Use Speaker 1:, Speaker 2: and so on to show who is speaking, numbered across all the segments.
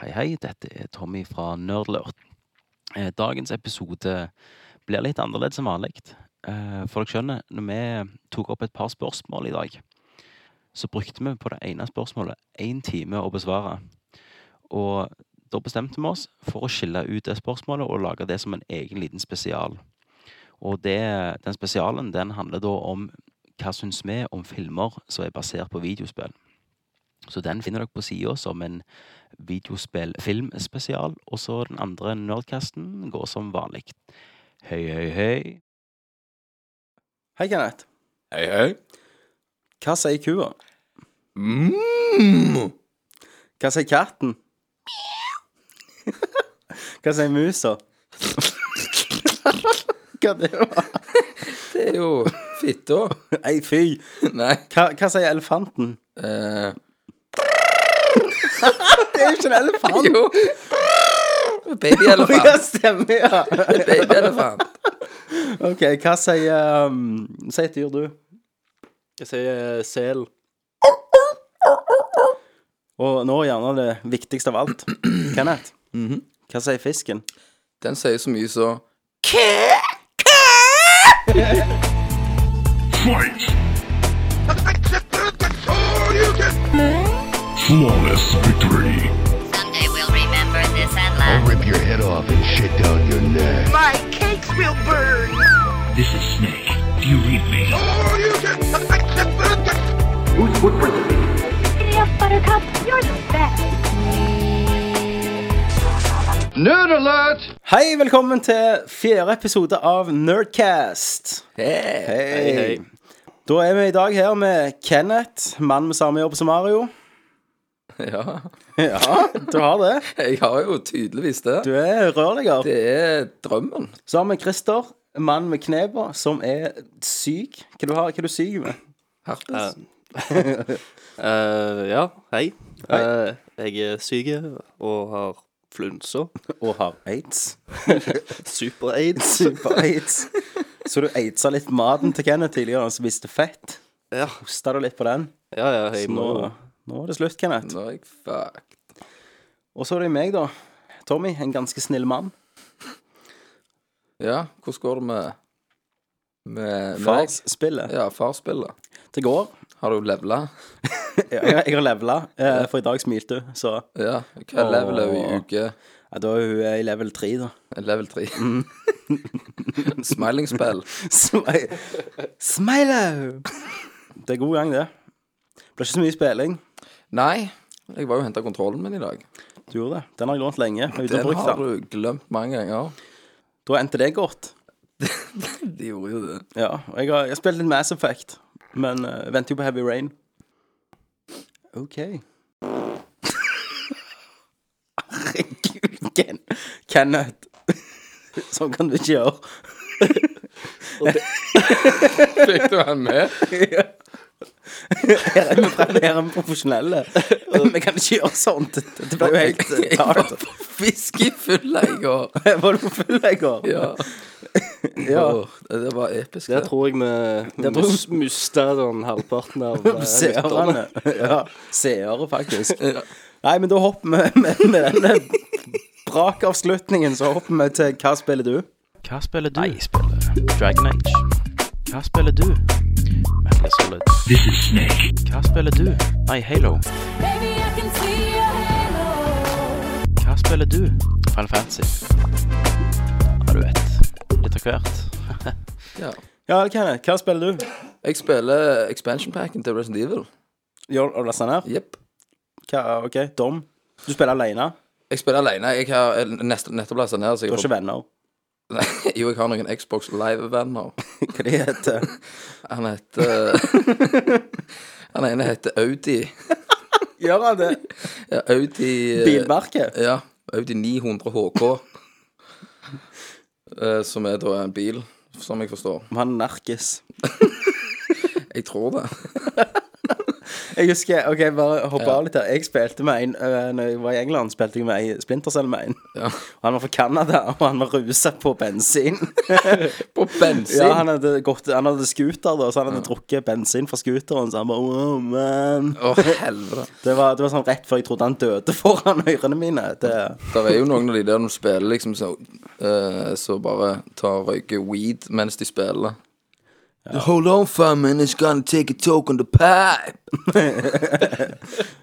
Speaker 1: Hei, hei, dette er Tommy fra Nerdlurt. Eh, Dagens episode blir litt annerledes enn vanlig. Eh, For dere skjønner, når vi tok opp et par spørsmål i dag, så brukte vi på det ene spørsmålet én time å besvare. Og da bestemte vi oss for å skille ut det spørsmålet og lage det som en egen liten spesial. Og det, den spesialen den handler da om hva syns vi om filmer som er basert på videospill. Så den finner dere på sida som en videospill-filmspesial. Og så den andre Nerdcasten går som vanlig. Høy, høy, høy.
Speaker 2: Hei, Kenneth.
Speaker 3: Hei, hei.
Speaker 2: Hva sier kua?
Speaker 3: Mm.
Speaker 2: Hva sier katten? Hva sier musa? Hva det var?
Speaker 3: Det er jo fitta.
Speaker 2: Nei, fy.
Speaker 3: Nei.
Speaker 2: Hva, hva sier elefanten?
Speaker 3: eh,
Speaker 2: Det er jo ikke en elefant.
Speaker 3: jo.
Speaker 2: Ja,
Speaker 3: Babyelefant.
Speaker 2: stemmer, ja.
Speaker 3: Babyelefant.
Speaker 2: OK, hva sier um, Si et dyr, du. eh,
Speaker 4: Jeg sier sel.
Speaker 2: Og nå gjerne det viktigste av alt. Kenneth, hva sier fisken?
Speaker 3: Den sier så mye så
Speaker 5: Flawless victory.
Speaker 6: Someday we'll remember this and laugh.
Speaker 7: rip your head off and shit down your neck.
Speaker 8: My cakes will burn.
Speaker 5: This is Snake. Do you read me?
Speaker 6: Buttercup, you're the best.
Speaker 7: Nerd alert!
Speaker 2: Hei, velkommen til fjerde episode av Nerdcast.
Speaker 3: hey.
Speaker 2: Hei, hei. Da er vi i dag her med Kenneth, mann med samme jobb som Mario.
Speaker 3: Ja.
Speaker 2: Ja, du har det.
Speaker 3: Jeg har jo tydeligvis
Speaker 2: Du
Speaker 3: det.
Speaker 2: er rørlegger.
Speaker 3: Det er drømmen.
Speaker 2: Så har vi Christer, mann med knepa, som er syk. Hva du har hva du er syk med?
Speaker 3: Herpes.
Speaker 4: Eh, ja, hei. Eh, jeg er syk og har flunsa.
Speaker 2: Og har aids.
Speaker 4: Super-aids.
Speaker 2: Super-aids. Så du aidsa litt maten til Kenneth tidligere, og spiste fett.
Speaker 4: Ja.
Speaker 2: Hosta du litt på den?
Speaker 4: ja, ja, jeg
Speaker 2: Så
Speaker 4: må
Speaker 2: nå, nå er det slutt, Kenneth.
Speaker 3: Nå er jeg fucked.
Speaker 2: Og så er det meg, da. Tommy, en ganske snill mann.
Speaker 3: Ja, hvordan går det med Med med deg?
Speaker 2: Farsspillet.
Speaker 3: Ja, farsspillet.
Speaker 2: Det går.
Speaker 3: Har du levela?
Speaker 2: Jeg, jeg har levela, eh, for i dag smilte hun, så
Speaker 3: Ja. Hva
Speaker 2: Åh.
Speaker 3: level er vi i uke?
Speaker 2: ja, da er hun eh, i level 3, da. Mm.
Speaker 3: Level 3. Smilingspill.
Speaker 2: Smi- Smilo! Det er god gang, det. Det blir ikke så mye spilling.
Speaker 3: Nei. Jeg var jo og henta kontrollen min i dag.
Speaker 2: Du gjorde det. Den har jeg lånt lenge. og uten å
Speaker 3: Den
Speaker 2: bruke
Speaker 3: har
Speaker 2: den.
Speaker 3: du glemt mange ganger.
Speaker 2: Da endte det godt.
Speaker 3: De gjorde jo det.
Speaker 2: Ja, og jeg har, jeg har spilt litt Mass Effect, men eh, venter jo på Heavy Rain. OK. Herregud, Ken Kenneth. Sånn kan du ikke gjøre.
Speaker 3: Fikk du han med?
Speaker 2: Her er vi, fra- her er vi profesjonelle. Vi kan ikke gjøre sånt. Det blir jo helt eh, tart.
Speaker 3: Fisk i fylla i går.
Speaker 2: Var du på full i går?
Speaker 3: Ja. ja. Det, det var episk.
Speaker 4: Der
Speaker 3: Det.
Speaker 4: tror jeg vi
Speaker 2: tror-
Speaker 4: mus, mista den halvparten av eh, lytterne.
Speaker 2: Seerne. Ja, seere, faktisk. Nei, men da hopper vi med, med denne brakavslutningen, så hopper vi til Hva spiller du?
Speaker 1: Hva spiller du? Nei, jeg spiller Dragon Age. Hva spiller du? Metal Solid. This is Snake. Hva spiller du? Nei, Halo. Hva spiller du? Final Fantasy. Ja, du vet. Litt av hvert.
Speaker 3: Ja.
Speaker 2: Ja, Kenneth, hva spiller du?
Speaker 3: Jeg spiller expansion packen til Resident Evil.
Speaker 2: Gjør du lasta ned?
Speaker 3: Jepp.
Speaker 2: Hva, OK, Dom. Du spiller alene.
Speaker 3: Jeg spiller alene. Jeg har eh, nest, nettopp lasta ned. Så jeg
Speaker 2: Du har ikke venner.
Speaker 3: Nei, jo, jeg har noen Xbox Live-venner.
Speaker 2: Hva de heter
Speaker 3: Han heter Han ene heter Audi.
Speaker 2: Gjør han det?
Speaker 3: Ja, Audi eh,
Speaker 2: Bilmerket?
Speaker 3: Ja. Audi 900 HK. Eh, Som er da en bil, som jeg forstår.
Speaker 2: Han er narkis.
Speaker 3: Jeg tror det.
Speaker 2: Jeg husker, ok, bare hoppe av litt her Jeg spilte med en, øh, når jeg var i England Spilte jeg med en Splinter Cell med en Og han var fra Kanada, og han var ruset på bensin
Speaker 3: På bensin?
Speaker 2: Ja, han hadde, gått, han hadde skuter da Så han hadde drukket bensin fra skuteren Så han bare, oh man
Speaker 3: Å, helvete.
Speaker 2: det var, det var sånn rett før jeg trodde han døde foran ørene mine Det,
Speaker 3: Det er jo noen av de der de spiller, liksom, så, eh, så bare tar og røyker weed mens de spiller. Hold on for a minute, it's gonna take a toke on the pipe.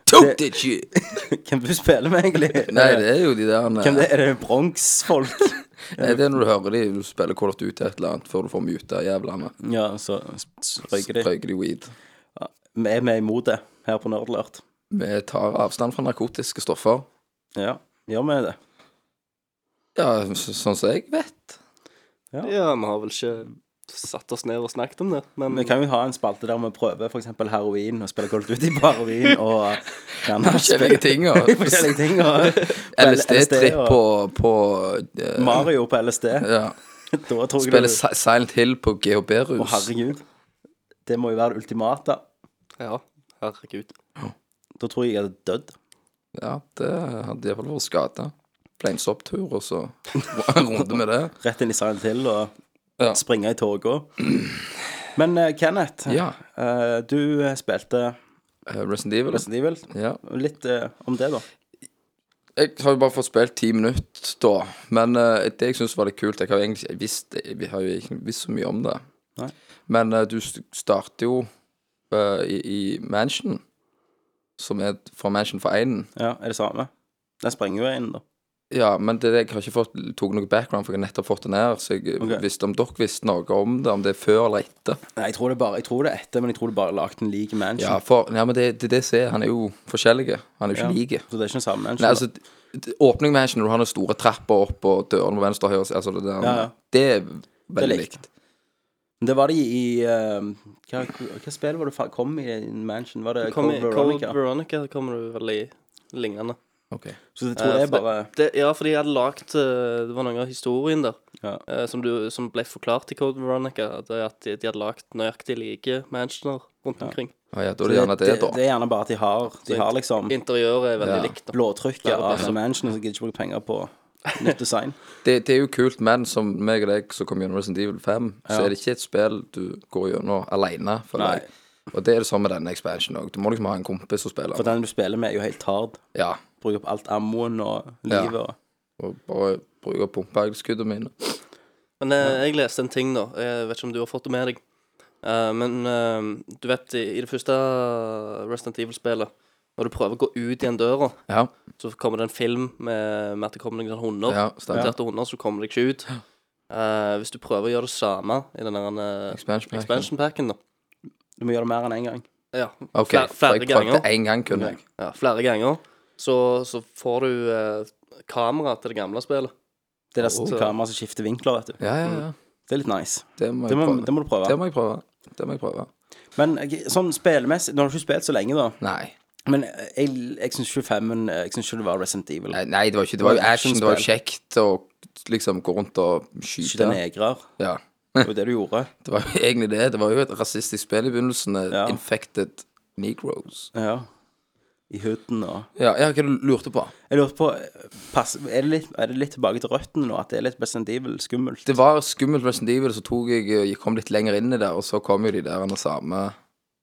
Speaker 3: Toke that shit.
Speaker 2: Hvem du spiller med egentlig?
Speaker 3: Nei, det er jo de der nei.
Speaker 2: Hvem det er? Er det Bronx-folk?
Speaker 3: Nei, det er når du hører de du spiller Call of Duty et eller annet før du får muta jævlene.
Speaker 2: ja, så s- røyker de
Speaker 3: Røyker de weed.
Speaker 2: Vi er med imot det her på Nerdlert
Speaker 3: Vi tar avstand fra narkotiske stoffer.
Speaker 2: Ja, gjør vi det
Speaker 3: Ja, så- sånn som jeg vet.
Speaker 4: Ja, vi har vel ikke satt oss ned og snakket om det, men
Speaker 2: Vi kan jo ha en spalte der vi prøver f.eks. heroin og spiller Call of Duty på heroin og gjerne
Speaker 3: Forskjellige ting. og-
Speaker 2: forskjellige ting. Og
Speaker 3: LSD-tripp
Speaker 2: og
Speaker 3: på, på eh,
Speaker 2: Mario på LSD.
Speaker 3: Ja.
Speaker 2: Da tror jeg
Speaker 3: Spille
Speaker 2: du-
Speaker 3: Si- Silent Hill på GHB-rus.
Speaker 2: Å, herregud. Det må jo være det ultimate.
Speaker 4: ja, herregud.
Speaker 2: Da tror jeg jeg hadde dødd.
Speaker 3: Ja, det hadde iallfall vært skade. Ble en sopptur, og så en runde med det.
Speaker 2: Rett inn i Silent Hill og
Speaker 3: Ja.
Speaker 2: springe i toga. Men eh, Kenneth,
Speaker 3: Ja.
Speaker 2: eh, du eh, spilte
Speaker 3: eh, Resident Evil.
Speaker 2: Resident Evil.
Speaker 3: Ja.
Speaker 2: Litt eh, om det, da.
Speaker 3: Jeg har jo bare fått spilt ti minutter da, men eh, det jeg syns var litt kult Jeg har jo egentlig ikke visst Vi har jo ikke visst så mye om det.
Speaker 2: Nei.
Speaker 3: Men eh, du s- starter jo eh, i, i Mansion, som er fra Mansion for einen.
Speaker 2: Ja, Er det samme? Den sprenger jo inn, da.
Speaker 3: Ja, men det, jeg har ikke fått tok noe background, for jeg har nettopp fått det ned. Så jeg
Speaker 2: Ok.
Speaker 3: visste om dere visste noe om det, om det er før eller etter.
Speaker 2: Nei, jeg tror det, bare, jeg tror det er etter, men jeg tror det bare er lagd en lik mansion.
Speaker 3: Ja, for, ja men det, det, det ser jeg. Han er jo forskjellige. Han er jo ikke like.
Speaker 2: Så det er ikke den samme mansion?
Speaker 3: Nei,
Speaker 2: da.
Speaker 3: altså, d- d- åpning med Ashen, når du har den store trappa opp, og dørene på venstre og høyre altså, det, der,
Speaker 2: Ja, ja.
Speaker 3: det er veldig
Speaker 2: Det er likt.
Speaker 3: likt.
Speaker 2: Men Det var de i eh, hva, hva spill var det fa- kom i en mansion? Var det
Speaker 4: Kom i-
Speaker 2: Code Eh, Veronica?
Speaker 4: Code Veronica kommer du vel i lignende.
Speaker 3: Ok.
Speaker 2: Så jeg tror det er
Speaker 4: Eh, for
Speaker 2: bare
Speaker 4: det, Ja, for de hadde lagt eh, Det var noen av historien der
Speaker 2: Ja.
Speaker 4: eh, som, du, som ble forklart i Code Veronica. Det er at de, de hadde lagt nøyaktig like mansioner rundt omkring.
Speaker 3: Ah, ja, da er det gjerne det, da.
Speaker 2: det er gjerne bare at de har De har liksom
Speaker 4: Interiøret er veldig
Speaker 3: Ja.
Speaker 4: likt. da
Speaker 2: blåtrykket av den mansionen, så gidder ikke bruke penger på nytt design.
Speaker 3: Det, det er jo kult, men som meg og deg som kom gjennom Resident Evil 5, så er det ikke et spill du går gjennom alene. For
Speaker 2: Nei.
Speaker 3: deg. Og det er det samme med denne expansionen òg. Du må liksom ha en kompis som spiller.
Speaker 2: For den du spiller med, er jo helt hard.
Speaker 3: Ja.
Speaker 2: Bruker opp alt ammoen og livet og
Speaker 3: Og bare bruke pumpeeggskuddet mine.
Speaker 4: Men eh, jeg leste en ting, da. Jeg vet ikke om du har fått det med deg. Eh, men eh, du vet, i, i det første Resident Evil-spillet, når du prøver å gå ut igjen døra,
Speaker 3: Ja.
Speaker 4: så kommer det en film med, med at det kommer noen sånne hunder.
Speaker 3: ja stemmer.
Speaker 4: Muterte hunder, så kommer du deg ikke ut. Eh, hvis du prøver å gjøre det samme i den der eh,
Speaker 3: Expansion packen.
Speaker 4: expansion packen, da.
Speaker 2: Du må gjøre det mer enn én gang.
Speaker 4: Ja,
Speaker 3: Ok,
Speaker 4: fler-
Speaker 3: for
Speaker 4: flere
Speaker 3: jeg prøvde
Speaker 4: ganger.
Speaker 3: én gang, kunne jeg.
Speaker 4: ja, flere ganger, så, så får du eh, kamera til det gamle spillet.
Speaker 2: Det er oh, kamera som skifter vinkler, vet du.
Speaker 3: Ja, ja, ja.
Speaker 2: Det er litt nice.
Speaker 3: Det må
Speaker 2: Det
Speaker 3: jeg
Speaker 2: må,
Speaker 3: prøve.
Speaker 2: det må du prøve.
Speaker 3: Det må jeg prøve. Det må jeg prøve.
Speaker 2: Men jeg- sånn spillemessig Nå har du ikke spilt så lenge, da.
Speaker 3: Nei.
Speaker 2: Men jeg, jeg syns 25-en eh, Jeg syns ikke det var Resident Evil.
Speaker 3: Nei, nei, det var ikke Det var jo
Speaker 2: Det var
Speaker 3: action, det var jo kjekt å liksom gå rundt og
Speaker 2: Skyte
Speaker 3: skyte.
Speaker 2: negrer.
Speaker 3: Ja.
Speaker 2: Det var jo det du gjorde.
Speaker 3: Det var jo egentlig det. Det var jo et rasistisk spill i begynnelsen. eh,
Speaker 2: Ja.
Speaker 3: Infected Negroes.
Speaker 2: Ja. I hooden og
Speaker 3: Ja, ja, hva du lurte på?
Speaker 2: Jeg lurte på pass, er, det litt, er det litt tilbake til røttene nå? At det er litt Resident Evil skummelt?
Speaker 3: Det var skummelt Resident Evil, så tok jeg, eh, jeg kom litt lenger inn i det, og så kom jo de der andre samme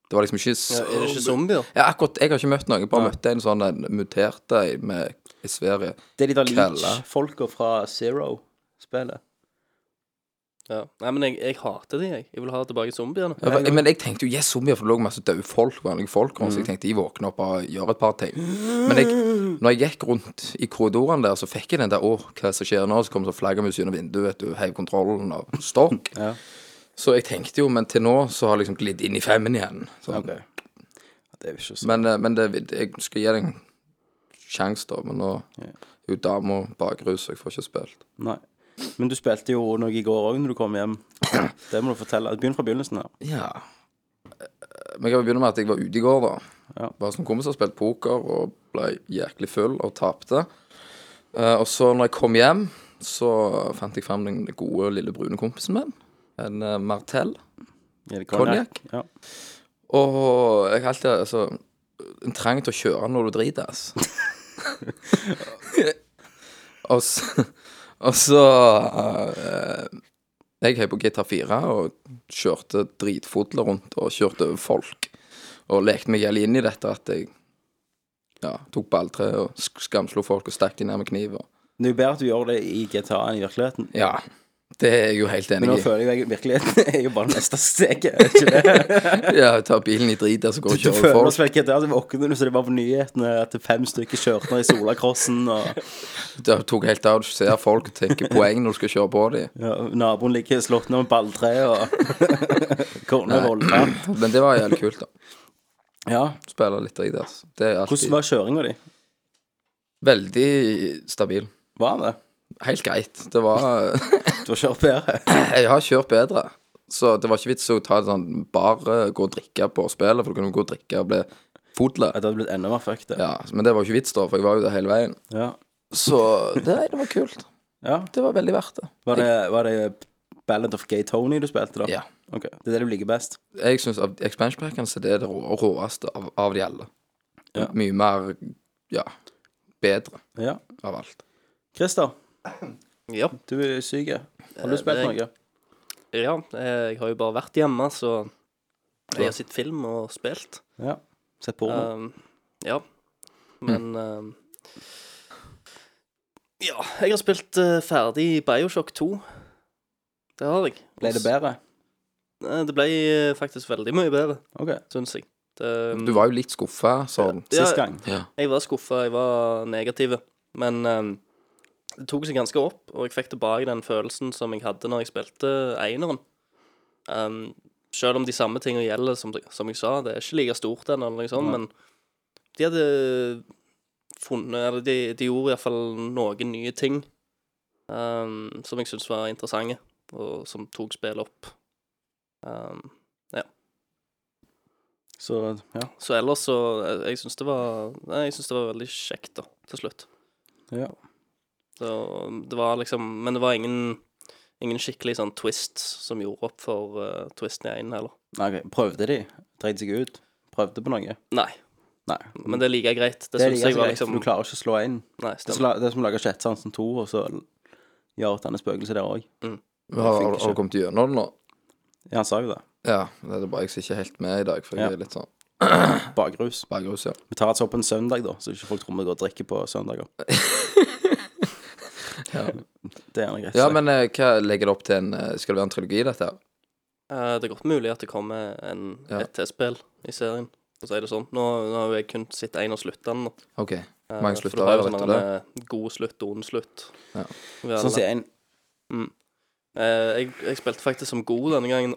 Speaker 3: Det var liksom ikke så
Speaker 4: Er det ikke zombier?
Speaker 3: Ja, akkurat. Jeg har ikke møtt noen. Jeg bare møtte en sånn en mutert ei med i Sverige.
Speaker 2: Det er de der
Speaker 3: Kalla.
Speaker 2: Leach-folka fra Zero-spillet.
Speaker 4: Ja. Nei, men jeg, jeg hater de, jeg. Jeg vil ha tilbake zombiene. Eh,
Speaker 3: Ja, for- men Mm. jeg tenkte jo yes, zombier, for det lå masse døde folk, vanlige folk rundt, så jeg tenkte jeg våkner opp og gjør et par ting. Men jeg, når jeg gikk rundt i korridorene der, så fikk jeg den der Å, hva er det som skjer nå? Så kom så flaggermus gjennom vinduet, vet du, heiv kontrollen og stokk. Så jeg tenkte jo, men til nå så har jeg liksom glidd inn i femmen igjen. Sånn.
Speaker 2: Ja, Det er jo ikke så
Speaker 3: Men, eh, men det, jeg skal gi deg en sjanse, da. Men nå er jo dama bakrus, så jeg får ikke spilt.
Speaker 2: Nei. Men du spilte jo noe i går òg, når du kom hjem. Det må du fortelle. Begynn fra begynnelsen her.
Speaker 3: Ja. Men jeg kan jo begynne med at jeg var ute i går, da.
Speaker 2: Ja.
Speaker 3: Var som kompis og spilte poker og ble jæklig full og tapte. Eh, og så når jeg kom hjem, så fant jeg fram den gode, lille brune kompisen min. En eh, Martell.
Speaker 2: Er det
Speaker 3: Cognac?
Speaker 2: Ja.
Speaker 3: Og jeg har alltid altså, en trang til å kjøre når du driter, ass. og så, og så eh, Jeg heiv på GTA 4 og kjørte dritfodler rundt og kjørte over folk. Og lekte meg jævlig inn i dette at jeg ja, tok balltre og sk- skamslo folk og stakk de ned med kniv. Og,
Speaker 2: Det er jo bedre at du gjør det i GTA enn i virkeligheten.
Speaker 3: ja, det er jeg jo helt
Speaker 2: Men
Speaker 3: enig
Speaker 2: nå
Speaker 3: i.
Speaker 2: føler jeg jo virkeligheten er jo bare det neste steget. er Ikke det?
Speaker 3: Ja, ta bilen i drit, og så går og
Speaker 2: Du
Speaker 3: kjører
Speaker 2: føler
Speaker 3: over
Speaker 2: oss
Speaker 3: folk.
Speaker 2: vel ikke der, så våkner du, så det var på nyhetene at fem stykker kjørte ned i Solakrossen, og
Speaker 3: Da tok helt av, du ser folk og tenker poeng når du skal kjøre på dem.
Speaker 2: ja, naboen ligger slått ned med balltre, og kona er voldtatt.
Speaker 3: Men det var jævlig kult, da.
Speaker 2: Ja.
Speaker 3: Spille litt drit, altså. Det er alltid
Speaker 2: Hvordan var kjøringa di?
Speaker 3: Veldig stabil.
Speaker 2: Var det?
Speaker 3: Helt greit. Det var
Speaker 2: Du har kjørt bedre?
Speaker 3: Jeg har kjørt bedre. Så det var ikke vits å ta en sånn bar, eh, gå og drikke på spillet, for du kunne gå og drikke og bli fodla.
Speaker 2: Ja, Det hadde blitt enda mer fucked, det.
Speaker 3: Ja, men det var jo ikke vits, da, for jeg var jo der hele veien.
Speaker 2: Ja.
Speaker 3: Så det, nei, det var kult.
Speaker 2: ja.
Speaker 3: Det var veldig verdt det.
Speaker 2: Var, det, var det Ballad of Gay Tony du spilte, da?
Speaker 3: Ja.
Speaker 2: Ok, Det er det du liker best?
Speaker 3: Jeg syns expansion packene så det er det rå- råeste av, av de alle.
Speaker 2: Ja.
Speaker 3: Mye mer ja, bedre
Speaker 2: Ja.
Speaker 3: av alt.
Speaker 2: Christer,
Speaker 4: Ja.
Speaker 2: du er syk. Har du
Speaker 4: Eh,
Speaker 2: spilt
Speaker 4: det-
Speaker 2: noe?
Speaker 4: ja. eh, Jeg har jo bare vært hjemme, så jeg har sett film og spilt.
Speaker 2: Ja. Sett porno?
Speaker 4: Um, ja. Men um, Ja, jeg har spilt eh, ferdig Bioshock 2. Det har jeg.
Speaker 2: Ble det bedre?
Speaker 4: Eh, Det ble eh, faktisk veldig mye bedre,
Speaker 2: Ok.
Speaker 4: syns jeg. Ehm, Det,
Speaker 3: Du var jo litt skuffa, sånn.
Speaker 2: Sist
Speaker 4: Ja,
Speaker 2: gang?
Speaker 4: Jeg var skuffa, jeg var negativ. Men ehm, det tok seg ganske opp, og jeg fikk tilbake den følelsen som jeg hadde når jeg spilte eineren. Ehm, selv om de samme tingene gjelder, som, som jeg sa, det er ikke like stort ennå, eller noe sånt, men de hadde funnet Eller de, de gjorde iallfall noen nye ting ehm, som jeg syntes var interessante, og som tok spillet opp. Ehm,
Speaker 2: Så ja.
Speaker 4: så ellers så Jeg, jeg syns det var Nei, jeg synes det var veldig kjekt, da, til slutt.
Speaker 2: ja.
Speaker 4: Så det var liksom Men det var ingen, ingen skikkelig sånn twist som gjorde opp for eh, twisten i én heller.
Speaker 2: Nei, ok, Prøvde de? Dreit seg ut? Prøvde på noe?
Speaker 4: Nei,
Speaker 2: Nei.
Speaker 4: men det er like greit. Det,
Speaker 2: Det er
Speaker 4: synes
Speaker 2: like
Speaker 4: jeg var
Speaker 2: greit,
Speaker 4: liksom
Speaker 2: for du klarer ikke å slå inn.
Speaker 4: Nei,
Speaker 2: Det er,
Speaker 4: stemmer.
Speaker 2: som- det er som å lage Kjetsansen 2, og så gjør at han er spøkelse der òg.
Speaker 3: Har,
Speaker 2: fikk
Speaker 3: har, har du
Speaker 2: ikke.
Speaker 3: kommet gjennom det nå?
Speaker 2: Ja, han sa jo det.
Speaker 3: Ja. Det er bare jeg som ikke er helt med i dag, for jeg
Speaker 2: Ja.
Speaker 3: er litt sånn
Speaker 2: Bakrus.
Speaker 3: bakrus, ja.
Speaker 2: Vi tar et sopp en søndag, da, så ikke folk tror vi går og drikker på søndager.
Speaker 3: Ja.
Speaker 2: Det er gjerne greit.
Speaker 3: Ja,
Speaker 2: sagt.
Speaker 3: men eh, hva legger det opp til en eh, Skal det være en trilogi, dette her?
Speaker 4: Eh, det er godt mulig at det kommer en,
Speaker 3: Ja.
Speaker 4: et til-spill i serien, for å si det sånn. Nå, nå har jo jeg kun sett én og slutta den. da.
Speaker 3: OK.
Speaker 4: Eh,
Speaker 3: Mange
Speaker 4: for
Speaker 3: slutter,
Speaker 4: det var jo
Speaker 3: vet
Speaker 4: sånn
Speaker 3: du
Speaker 4: en god slutt og ond slutt.
Speaker 3: Ja.
Speaker 4: Ved
Speaker 2: Sånn
Speaker 4: alle.
Speaker 2: sier en
Speaker 4: Eh, jeg, jeg spilte faktisk som god denne gangen.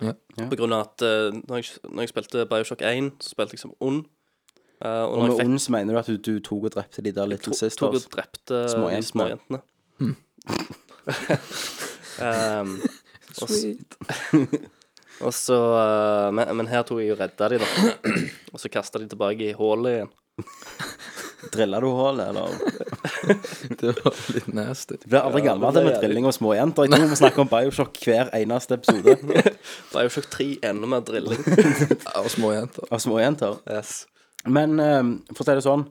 Speaker 3: Ja.
Speaker 2: Ja.
Speaker 4: På grunn av at eh, når, jeg, når jeg spilte Bioshock 1, så spilte jeg som ond. Eh, og
Speaker 2: Og
Speaker 4: når
Speaker 2: med
Speaker 4: jeg fikk
Speaker 2: ond så mener du at du, du tok og drepte de der altså? Little
Speaker 4: to- Tok
Speaker 2: Sisters?
Speaker 4: og drepte
Speaker 2: Småjentene.
Speaker 4: de småjentene. um, og s-
Speaker 3: Sweet.
Speaker 4: og så uh, men, men her tok jeg og redda de, da. Og så kasta de tilbake i hullet igjen.
Speaker 2: Drilla du hullet, eller?
Speaker 3: Det var litt nasty.
Speaker 2: Du blir aldri gammel av det med drilling og småjenter. Jeg tror vi snakker om Bioshock hver eneste episode
Speaker 4: Bioshock 3, enda mer drilling.
Speaker 3: Av små jenter.
Speaker 2: av småjenter.
Speaker 4: Yes.
Speaker 2: Men ehm, for å si det sånn,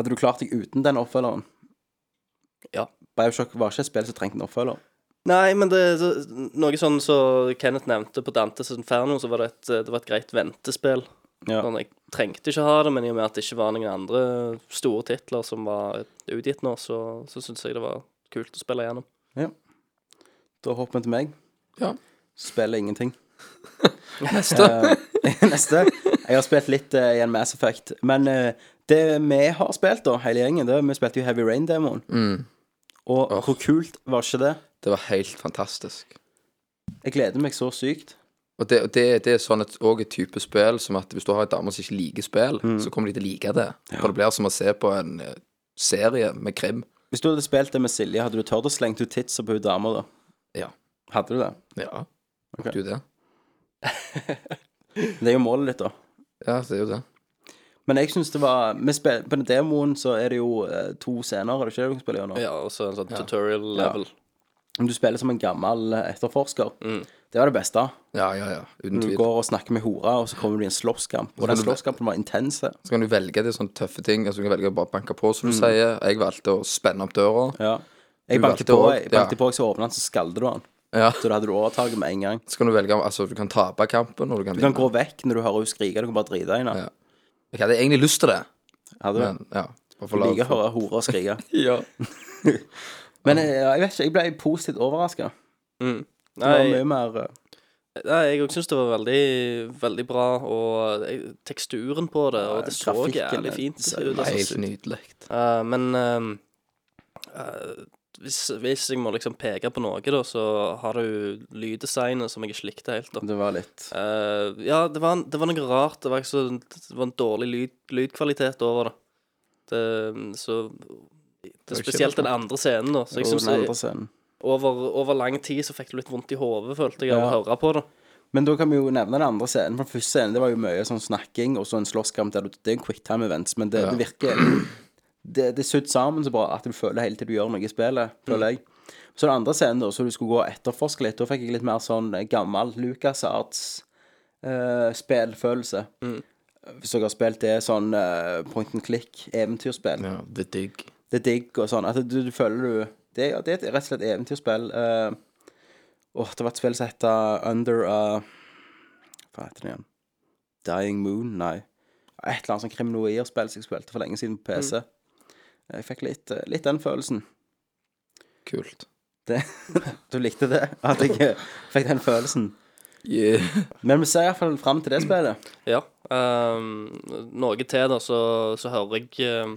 Speaker 2: hadde du klart deg uten den oppfølgeren?
Speaker 4: Ja.
Speaker 2: Bioshock var ikke et spill som trengte en oppfølger.
Speaker 4: Nei, men det er så- noe sånn som Kenneth nevnte på Dantes Inferno, så var det et, det var et greit ventespill.
Speaker 2: Ja.
Speaker 4: Sånn, jeg trengte ikke ha det, men i og med at det ikke var noen andre store titler som var utgitt nå, så, så syns jeg det var kult å spille gjennom.
Speaker 2: Da hopper vi til meg.
Speaker 3: Ja.
Speaker 2: Spiller ingenting. Eh,
Speaker 3: Neste.
Speaker 2: Neste. Jeg har spilt litt eh, i en Mass Effect. Men eh, det vi har spilt, da, hele gjengen, det er- vi spilte jo Heavy Rain-demoen. Og
Speaker 3: Åh.
Speaker 2: hvor kult var ikke det?
Speaker 3: Det var helt fantastisk.
Speaker 2: Jeg gleder meg så sykt.
Speaker 3: Og det, og det, det er sånn et, også et type spill som at hvis du har en dame som ikke liker spill,
Speaker 2: Mm.
Speaker 3: så kommer de til å like det. For det blir som å se på en eh, serie med krim.
Speaker 2: Hvis du hadde spilt det med Silje, hadde du tørt å slenge ut titsa på hun dama da?
Speaker 3: Ja.
Speaker 2: Hadde du det?
Speaker 3: Ja. Du det?
Speaker 2: Det er jo målet ditt, da.
Speaker 3: Ja, det er jo det.
Speaker 2: Men jeg syns det var vi spil, På den demoen så er det jo eh, to scener, er det ikke det du kan spille gjennom?
Speaker 4: Ja, og så en sånn tutorial level.
Speaker 3: Mm.
Speaker 2: Men Du spiller som en gammel eh, etterforsker. Det var det beste.
Speaker 3: Ja, ja, ja. Uten
Speaker 2: Du
Speaker 3: tvil.
Speaker 2: går og snakker med hora, og så kommer du i en slåsskamp. Og den
Speaker 3: du-
Speaker 2: slåsskampen var intens.
Speaker 3: Så kan du velge det sånne tøffe ting. Altså, du kan velge å bare banke på, som du
Speaker 2: Mm.
Speaker 3: sier. Jeg valgte å spenne opp døra.
Speaker 2: Ja. Jeg
Speaker 3: Du valgte
Speaker 2: banket på,
Speaker 3: også-
Speaker 2: jeg banket
Speaker 3: ja.
Speaker 2: på, jeg så åpnet den, så skalde du den.
Speaker 3: Ja.
Speaker 2: Så da hadde du overtaket med en gang.
Speaker 3: Så kan du velge Altså, du kan tape kampen, og du kan
Speaker 2: Du kan gå
Speaker 3: vinne.
Speaker 2: vekk når du hører henne skrike, du kan bare drite i henne.
Speaker 3: Ja. Jeg hadde egentlig lyst til det,
Speaker 2: Hadde du?
Speaker 3: men ja. Bare for
Speaker 2: Jeg liker å
Speaker 3: å la
Speaker 2: høre hora skrike.
Speaker 3: Ja.
Speaker 2: Men eh, ja, jeg vet ikke, jeg ble positivt overraska. Det var
Speaker 4: Mm. Nei,
Speaker 2: mye mer eh,
Speaker 4: nei, jeg òg syns det var veldig, veldig bra, og eh, teksturen på det, og det så
Speaker 2: Trafikken,
Speaker 4: jævlig fint
Speaker 2: det-
Speaker 4: ut.
Speaker 2: nei,
Speaker 4: altså.
Speaker 3: Helt nydelig.
Speaker 4: Eh, men ehm, eh, hvis, hvis jeg må liksom peke på noe, da, så har du lyddesignet som jeg ikke likte helt. da.
Speaker 2: Det var litt
Speaker 4: Eh, ja, det var, en- det var noe rart. Det var, ikke så, det var en dårlig lyd, lydkvalitet over det. det så det er Spesielt den andre scenen, da. Så jeg
Speaker 2: på
Speaker 4: synes
Speaker 2: den andre
Speaker 4: det-
Speaker 2: scenen.
Speaker 4: over, over lang tid så fikk du litt vondt i hodet, følte jeg, av
Speaker 2: Ja.
Speaker 4: å høre på det.
Speaker 2: Men da kan vi jo nevne den andre scenen. For den første scenen det var jo mye sånn snakking og så en slåsskamp. der du- Det er en quicktime events, men det, det virker Det, det er sydd sammen så bra at du føler hele tiden du gjør noe i spillet, føler jeg. Så den andre scenen, da, så du skulle gå og etterforske litt, da fikk jeg litt mer sånn eh, gammel Lucas Arts-spillfølelse. Hvis dere har spilt det sånn eh, point and click-eventyrspill.
Speaker 3: Ja, det er digg.
Speaker 2: det er digg og sånn. At du, du føler du det, ja, det er et- rett og slett eventyrspill. eh, Åh, det var et spill som heter Under a Hva heter det igjen? Dying Moon? Nei. Et eller annet sånn kriminoir-spill som jeg spilte for lenge siden på PC. Jeg fikk litt, eh, litt den følelsen.
Speaker 3: Kult.
Speaker 2: Det, du likte det? At jeg eh, fikk den følelsen?
Speaker 3: Yeah.
Speaker 2: Men vi ser iallfall fram til det spillet.
Speaker 4: Ja. ehm, noe til, da, så, så hører jeg ehm,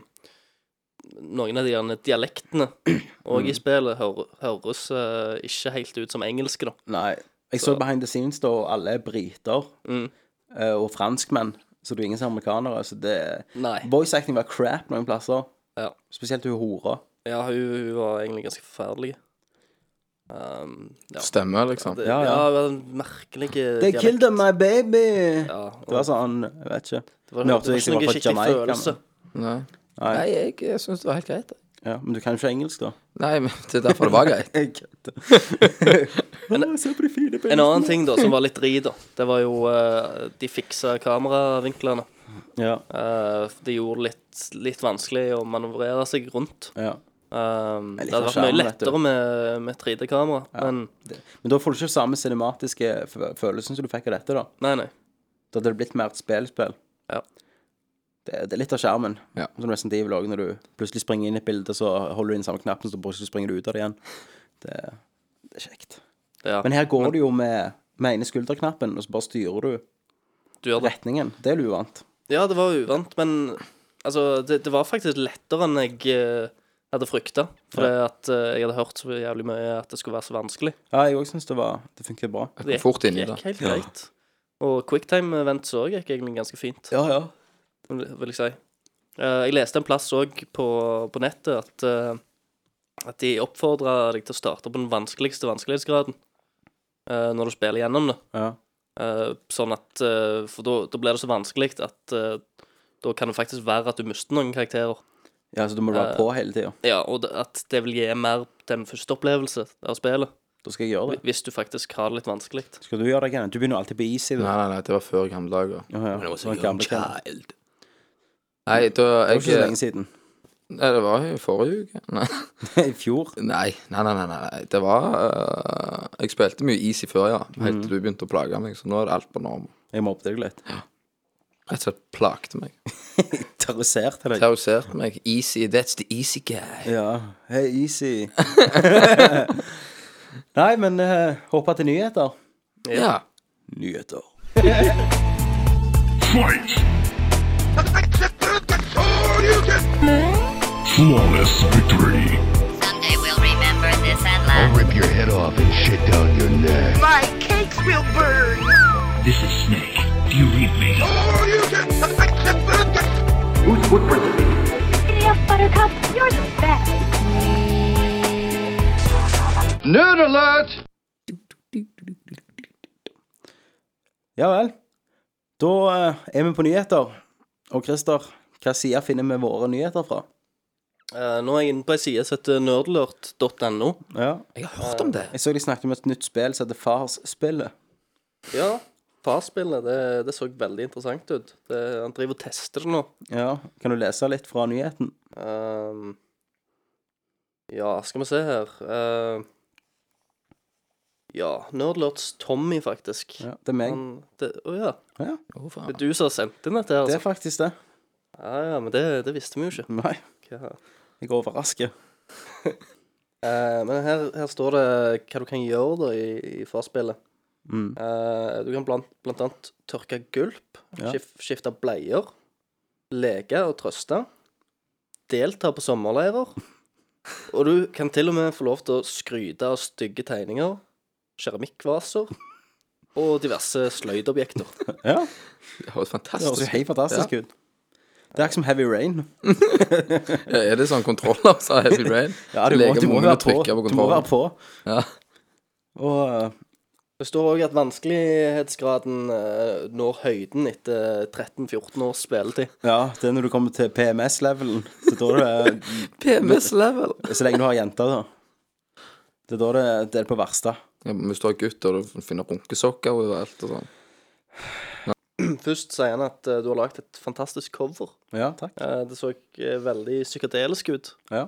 Speaker 4: noen av de gjerne dialektene òg
Speaker 2: Mm.
Speaker 4: i spillet hører, høres eh, ikke helt ut som engelske, da.
Speaker 2: Nei. Jeg så, behind the scenes, da, og alle er briter
Speaker 4: Mm.
Speaker 2: eh, og franskmenn. Så det er jo ingen som er amerikanere. Så det
Speaker 4: Nei.
Speaker 2: Voice acting var crap noen plasser.
Speaker 4: Ja.
Speaker 2: Spesielt hun hora.
Speaker 4: Ja, hun, hun var egentlig ganske forferdelig. Ehm, ja.
Speaker 3: Stemmer, liksom.
Speaker 4: Det,
Speaker 2: Ja,
Speaker 4: ja,
Speaker 2: ja.
Speaker 4: ja. den merkelige
Speaker 2: They
Speaker 4: dialekt.
Speaker 2: killed my baby!
Speaker 4: Ja,
Speaker 2: Det var sånn, jeg vet ikke.
Speaker 4: det var,
Speaker 2: Nå
Speaker 4: det
Speaker 2: hørte
Speaker 4: var ikke
Speaker 2: jeg som var
Speaker 4: noe
Speaker 2: fra
Speaker 4: skikkelig
Speaker 2: Jamaica, men-
Speaker 4: følelse.
Speaker 3: Nei.
Speaker 2: Nei.
Speaker 3: Nei, jeg, jeg syns det var helt greit. jeg.
Speaker 2: Ja, men du kan jo ikke engelsk, da.
Speaker 3: Nei, men det er derfor det var greit.
Speaker 2: Jeg kødder. Å, Se på de fine
Speaker 4: En
Speaker 2: bildene.
Speaker 4: annen ting da, som var litt drit, da, det var jo eh, De fiksa kameravinklene.
Speaker 2: Ja,
Speaker 4: Eh, det gjorde litt, litt vanskelig å manøvrere seg rundt.
Speaker 2: ja.
Speaker 4: Ehm,
Speaker 2: Jeg
Speaker 4: det
Speaker 2: liker
Speaker 4: hadde vært
Speaker 2: skjermen,
Speaker 4: mye
Speaker 2: vet du.
Speaker 4: lettere med, med 3D-kamera, men
Speaker 2: Men da får du ikke samme cinematiske f- følelsen som du fikk av dette, da.
Speaker 4: nei, nei.
Speaker 2: Da hadde det blitt mer et spillspill.
Speaker 4: Ja.
Speaker 2: Det, det er litt av skjermen.
Speaker 3: Ja.
Speaker 2: Som Resident Evil også, når du plutselig springer inn i et bilde, så holder du inn samme knappen, så plutselig springer du ut av det igjen. Det, det er kjekt.
Speaker 4: Ja.
Speaker 2: Men her går du jo med, med ene skulderknappen, og så bare styrer du
Speaker 4: du gjør det.
Speaker 2: retningen. Det er du uvant.
Speaker 4: Ja, det var uvant, men altså, det, det var faktisk lettere enn jeg eh, hadde frykta. For at eh, jeg hadde hørt så jævlig mye at det skulle være så vanskelig.
Speaker 2: Ja, jeg òg syns det var Det funket bra.
Speaker 3: Jeg kom fort inn i det.
Speaker 4: gikk helt greit. Og quicktime-event så gikk egentlig ganske fint,
Speaker 2: Ja, ja.
Speaker 4: vil vil jeg si. Eh, jeg leste en plass òg på, på nettet at, eh, at de oppfordra deg til å starte på den vanskeligste vanskelighetsgraden eh, når du spiller gjennom det.
Speaker 2: Ja.
Speaker 4: Eh, sånn at eh, For da, da blir det så vanskelig at eh, da kan det faktisk være at du mister noen karakterer.
Speaker 2: ja så du må
Speaker 4: Eh,
Speaker 2: være på hele tida.
Speaker 4: Ja, og det- at det vil gi mer til en første opplevelse av spillet.
Speaker 2: Da skal jeg gjøre det.
Speaker 4: Hvis du faktisk har det litt vanskelig.
Speaker 2: Skal du gjøre det, Kenneth? Du begynner jo alltid på easy. Du.
Speaker 3: Nei, nei, nei, det var før gamle dager.
Speaker 2: Ja, ja. Det var gamle Kenneth.
Speaker 3: Nei, da
Speaker 2: Det var
Speaker 3: jeg
Speaker 2: ikke så lenge siden.
Speaker 3: Nei, det var i forrige uke. Nei,
Speaker 2: I fjor.
Speaker 3: nei, nei. nei, nei, nei. Det var øh, Jeg spilte mye Easy før, ja. Helt
Speaker 2: Mm.
Speaker 3: til du begynte å plage meg. Så nå er det alt på norm.
Speaker 2: Jeg mobbet deg litt.
Speaker 3: Rett og slett plagte meg.
Speaker 2: Terroriserte deg.
Speaker 3: Terroriserte meg. Easy. That's the easy guy.
Speaker 2: Ja. Hei, easy. Nei, men uh, håper til nyheter.
Speaker 3: Ja.
Speaker 2: Nyheter.
Speaker 5: Fight! Flawless victory.
Speaker 6: Someday we'll remember this and
Speaker 7: I'll
Speaker 6: laugh.
Speaker 7: rip your head off and shit down your neck.
Speaker 8: My cakes will burn.
Speaker 5: This is Snake. Do you read me?
Speaker 6: City of Buttercup, you're the best.
Speaker 7: Nerd alert!
Speaker 2: Ja vel. Da eh, er vi på nyheter. Og Christer, hva sider finner vi våre nyheter fra?
Speaker 4: Eh, nå er jeg inne på ei side som heter nerdlurt.no.
Speaker 2: Ja.
Speaker 3: Jeg har hørt om det.
Speaker 2: Jeg så de snakket om et nytt spill som heter Farsspillet.
Speaker 4: Ja, Farspillet, det, det så veldig interessant ut. Det, han driver og tester det nå.
Speaker 2: Ja. Kan du lese litt fra nyheten?
Speaker 4: Ehm, ja, skal vi se her Ehm, Ja, Nerdlords Tommy, faktisk.
Speaker 2: Ja, det er
Speaker 3: Mm.
Speaker 2: meg.
Speaker 4: Han- det- Å ja.
Speaker 2: Ja,
Speaker 3: Å,
Speaker 4: Det er
Speaker 3: faen.
Speaker 4: du som har sendt inn dette, her,
Speaker 2: det er
Speaker 4: altså?
Speaker 2: faktisk det.
Speaker 4: Ja, ja, men det, det visste vi jo ikke.
Speaker 2: Nei,
Speaker 4: Hva?
Speaker 2: jeg overrasker.
Speaker 4: Eh, men her, her står det hva du kan gjøre da i, i farspillet.
Speaker 2: Mm.
Speaker 4: Eh, du kan blant, blant annet tørke gulp,
Speaker 2: Ja.
Speaker 4: skif, skifte bleier, leke og trøste, delta på sommerleirer, og du kan til og med få lov til å skryte av stygge tegninger, keramikkvaser og diverse sløydobjekter.
Speaker 2: Ja,
Speaker 3: Det høres
Speaker 2: det høres jo
Speaker 3: fantastisk ut.
Speaker 2: helt fantastisk ut. Det er ikke som Heavy Rain.
Speaker 3: Ja, Er det sånn kontroller, sa Heavy Rain?
Speaker 2: Ja, du må,
Speaker 3: Leker
Speaker 2: du må
Speaker 3: med å
Speaker 2: være på.
Speaker 3: trykke på
Speaker 2: Du må være
Speaker 3: kontrollen.
Speaker 2: på.
Speaker 3: Ja.
Speaker 2: Og eh,
Speaker 4: Det står òg at vanskelighetsgraden eh, når høyden etter 13-14 års spilletid.
Speaker 2: ja, det er når du kommer til PMS-levelen. Så da er det
Speaker 3: PMS level.
Speaker 2: Så lenge du har jenter, da. Det er da det, det er på verste.
Speaker 3: Ja, men Hvis du har gutt og du finner runkesokker og alt og sånn.
Speaker 4: Først sier han at eh, du har lagd et fantastisk cover.
Speaker 2: Ja, takk.
Speaker 4: Eh, Det så eh, veldig psykedelisk ut.
Speaker 2: Ja,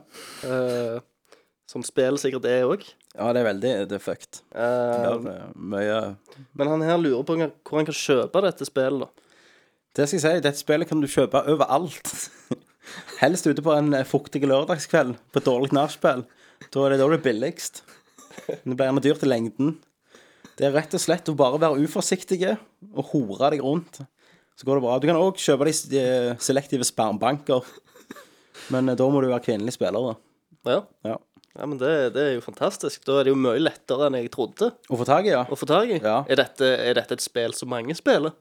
Speaker 4: Eh, som spill sikkert er òg.
Speaker 2: ja det er veldig Det er fucked. Det er eh, mye
Speaker 4: men han her lurer på hvor han kan kjøpe dette spillet, da.
Speaker 2: Det skal jeg si, dette spillet kan du kjøpe overalt. Helst ute på en eh, fuktig lørdagskveld på et dårlig nachspiel. Da er det da det er billigst. Men Det blir gjerne dyrt i lengden. Det er rett og slett å bare være uforsiktige og hore deg rundt. Så går det bra. Du kan òg kjøpe de s- de eh, selektive spermbanker. Men eh, da må du være kvinnelig spiller, da.
Speaker 4: Ja.
Speaker 2: Ja.
Speaker 4: ja men det, det er jo fantastisk. Da er det jo mye lettere enn jeg trodde
Speaker 2: Å få tak i, ja.
Speaker 4: å få tak i.
Speaker 2: Ja.
Speaker 4: Er, dette, er dette et spill som mange spiller?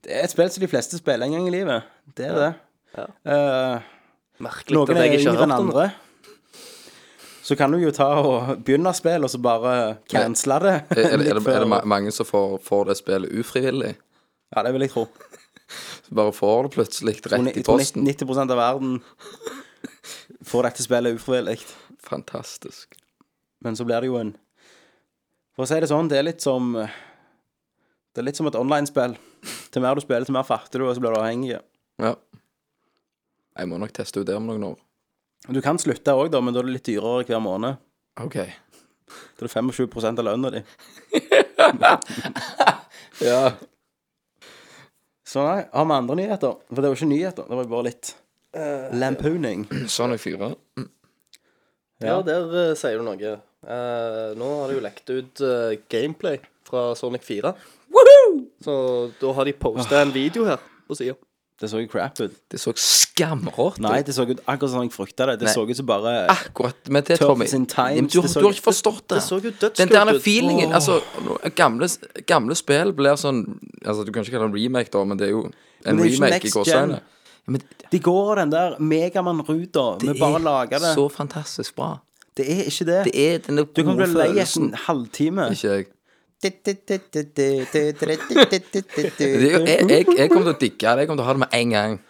Speaker 2: Det er et spill som de fleste spiller en gang i livet. Det er det.
Speaker 4: Ja.
Speaker 2: Eh,
Speaker 4: Merkelig
Speaker 2: noen
Speaker 4: at
Speaker 2: er
Speaker 4: jeg ikke har
Speaker 2: yngre enn
Speaker 4: hørt om det.
Speaker 2: andre. Så kan du jo ta og begynne spillet, og så bare cancele det.
Speaker 3: Er, er, det- er,
Speaker 2: litt
Speaker 3: det- er det
Speaker 2: før.
Speaker 3: ma- mange som får, får det spillet ufrivillig?
Speaker 2: Ja, det vil jeg tro.
Speaker 3: Som bare får det plutselig rett i
Speaker 2: Jeg tror
Speaker 3: posten?
Speaker 2: 90 av verden får dette spillet ufrivillig.
Speaker 3: Fantastisk.
Speaker 2: Men så blir det jo en For å si det sånn, det er litt som Det er litt som et online-spill. Til mer du spiller, til mer fatter du, og så blir du avhengig.
Speaker 3: Ja. Jeg må nok teste ut det om noen år.
Speaker 2: Du kan slutte òg, da, men da er det litt dyrere hver måned.
Speaker 3: OK.
Speaker 2: Da er det 25 av lønna di.
Speaker 3: Ja.
Speaker 2: Så nei, har vi andre nyheter? For det var ikke nyheter, det var bare litt lampooning.
Speaker 3: Sånn er fyra.
Speaker 4: Ja, der eh, sier du noe. Eh, nå har det jo lekt ut eh, gameplay fra Sonic 4. Så da har de posta en video her på sida.
Speaker 2: Det så jo crap ut.
Speaker 3: Det så skamrått ut.
Speaker 2: Nei, det så ut akkurat som jeg frykta det. Det
Speaker 3: Nei.
Speaker 2: så ut som bare
Speaker 3: Akkurat. Men det,
Speaker 2: Turtles
Speaker 3: Tommy
Speaker 2: in Times,
Speaker 3: men du,
Speaker 2: det så-
Speaker 3: du har ikke forstått det.
Speaker 4: Det så jo
Speaker 3: Den
Speaker 4: dødskult
Speaker 3: der
Speaker 4: ut.
Speaker 3: feelingen Altså, nå- gamle, gamle spill blir sånn Altså, du kan ikke kalle det en remake, da, men det er jo en
Speaker 2: det er jo ikke
Speaker 3: remake i
Speaker 2: next
Speaker 3: gåseøyne.
Speaker 2: gen.
Speaker 3: Men
Speaker 2: De går den der Megamann-ruta. Vi bare lager det.
Speaker 3: så fantastisk bra.
Speaker 2: Det er ikke det.
Speaker 3: Det er denne
Speaker 2: Du kan
Speaker 3: gode
Speaker 2: bli lei etter
Speaker 3: følelsen.
Speaker 2: en halvtime.
Speaker 3: Ikke jeg. Det er jo, jeg,
Speaker 2: Ja
Speaker 3: jeg, jeg kommer til å digge det. Jeg kommer til å ha det med en gang.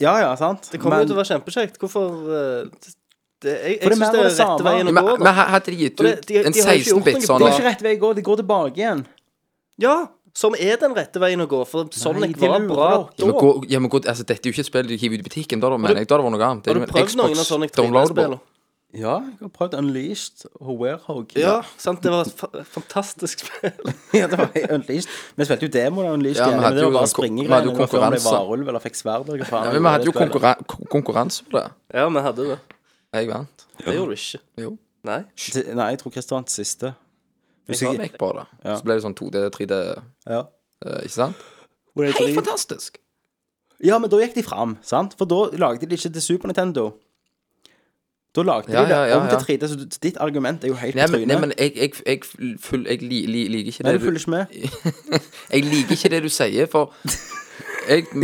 Speaker 2: ja, sant?
Speaker 4: Det kommer
Speaker 2: Men-
Speaker 4: jo til å være kjempekjekt. Hvorfor eh, det, Jeg, jeg syns
Speaker 2: For det er
Speaker 4: det
Speaker 2: mer
Speaker 4: er
Speaker 2: av det
Speaker 4: rette
Speaker 2: samme.
Speaker 4: veien å
Speaker 3: Men,
Speaker 4: gå.
Speaker 3: men
Speaker 4: Da.
Speaker 3: hadde de gitt
Speaker 4: For det-
Speaker 3: ut
Speaker 4: de- de
Speaker 3: en
Speaker 4: har jo ikke gjort
Speaker 3: 16-bit
Speaker 4: noe
Speaker 3: sånn
Speaker 2: Det
Speaker 4: bra.
Speaker 2: er ikke rett vei å gå. De går tilbake igjen.
Speaker 4: Ja! Som er den rette veien å gå, for Sonic
Speaker 2: de
Speaker 4: var
Speaker 2: lurer
Speaker 4: bra
Speaker 2: dere.
Speaker 3: Ja, men,
Speaker 4: da.
Speaker 3: gå, ja, men gå, altså, Dette er jo ikke et spill du hiver ut i butikken. Da, da mener jeg da det var noe annet. Det er
Speaker 4: Har
Speaker 3: jo
Speaker 4: du
Speaker 3: en
Speaker 4: prøvd noen av
Speaker 3: Xbox
Speaker 4: Sonic
Speaker 3: downloadable.
Speaker 4: 3D-spillene?
Speaker 2: Ja, jeg har prøvd Unleashed og Warehog.
Speaker 4: Ja, sant. Det var et fa fantastisk spill.
Speaker 2: ja, det var Unleashed. Vi spilte jo demoen av Unleashed,
Speaker 3: Ja, vi
Speaker 2: igjen,
Speaker 3: hadde
Speaker 2: men det
Speaker 3: jo
Speaker 2: var
Speaker 3: kon- vi
Speaker 2: bare
Speaker 3: hadde
Speaker 2: springegreiene.
Speaker 3: jo
Speaker 2: Det var før om det
Speaker 3: konkurranse.
Speaker 2: var varulv eller fikk sverd eller hva faen.
Speaker 3: Ja,
Speaker 2: det
Speaker 3: men vi
Speaker 2: var
Speaker 3: hadde jo
Speaker 2: det spillet.
Speaker 3: konkurran konkurranse på det.
Speaker 4: Ja, vi hadde det.
Speaker 3: Jeg vant.
Speaker 4: Det gjorde du ikke.
Speaker 3: Jo.
Speaker 4: Nei.
Speaker 2: Til- Nei, jeg tror Christer vant siste.
Speaker 3: Jeg sa vi gikk på det.
Speaker 2: Ja.
Speaker 3: Så ble det sånn 2D, 3D,
Speaker 2: Ja.
Speaker 3: eh, ikke sant?
Speaker 2: Hvor er det
Speaker 3: Helt
Speaker 2: drit?
Speaker 3: fantastisk.
Speaker 2: ja, men da gikk de fram, sant? For da lagde de det ikke til Super Nintendo. Da lagde
Speaker 3: Ja,
Speaker 2: de det
Speaker 3: ja, ja,
Speaker 2: om
Speaker 3: ja.
Speaker 2: til 3D, så du- ditt argument er jo helt
Speaker 3: Nei,
Speaker 2: på
Speaker 3: men, nei,
Speaker 2: trynet.
Speaker 3: men jeg, jeg, jeg, full, jeg li, li, liker ikke
Speaker 2: Nei,
Speaker 3: det
Speaker 2: du følger ikke med.
Speaker 3: Jeg liker ikke det du sier, for Jeg,
Speaker 2: ikke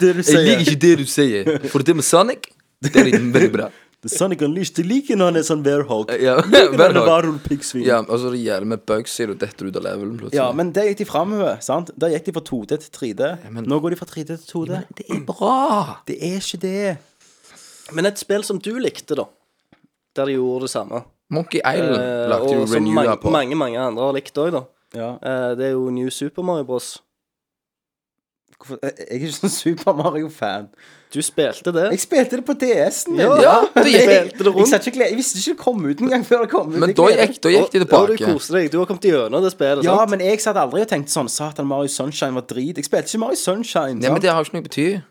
Speaker 2: det du
Speaker 3: Jeg liker ikke det du sier. For det med Sonic, det er veldig bra.
Speaker 2: Sonic Unleashed, de liker når han er sånn Warhog.
Speaker 3: Ja,
Speaker 2: Når det er
Speaker 3: Warhog.
Speaker 2: varulvpiggsvin.
Speaker 3: Eh, Ja, og så det gjelder med bugs, sier du detter ut av levelen plutselig.
Speaker 2: Ja, men der gikk de framover, sant? Der gikk de fra 2D til 3D.
Speaker 3: men-
Speaker 2: Nå går de fra 3D til 2D.
Speaker 3: det er bra!
Speaker 2: Det er ikke det.
Speaker 4: Men et spill som du likte, da, der de gjorde det samme,
Speaker 3: Monkey Island
Speaker 4: eh,
Speaker 3: lagde jo
Speaker 4: og som
Speaker 3: Renewa
Speaker 4: mange,
Speaker 3: på.
Speaker 4: mange, mange andre har likt òg, da,
Speaker 2: Ja.
Speaker 4: eh, det er jo New Super Mario Bros.
Speaker 2: Hvorfor? Jeg jeg er ikke sånn Super Mario-fan.
Speaker 4: Du spilte det.
Speaker 2: Jeg spilte det på DS-en min.
Speaker 4: Ja,
Speaker 3: Ja,
Speaker 4: du
Speaker 2: Jeg,
Speaker 4: spilte det
Speaker 2: jeg,
Speaker 4: rundt.
Speaker 2: satt ikke, og gled- jeg visste ikke det kom ut engang før det kom ut.
Speaker 3: Men
Speaker 2: Jeg
Speaker 3: da
Speaker 2: gleder-
Speaker 3: gikk, da gikk de
Speaker 4: Og- og Du
Speaker 3: tilbake.
Speaker 4: koste deg. Du har kommet gjennom det spillet.
Speaker 2: Ja,
Speaker 4: sant?
Speaker 2: men jeg satt aldri og tenkte sånn Satan, Mario Sunshine var drit. Jeg spilte ikke Mario Sunshine.
Speaker 3: Nei, men
Speaker 2: sant?
Speaker 3: det har jo ikke noe bety.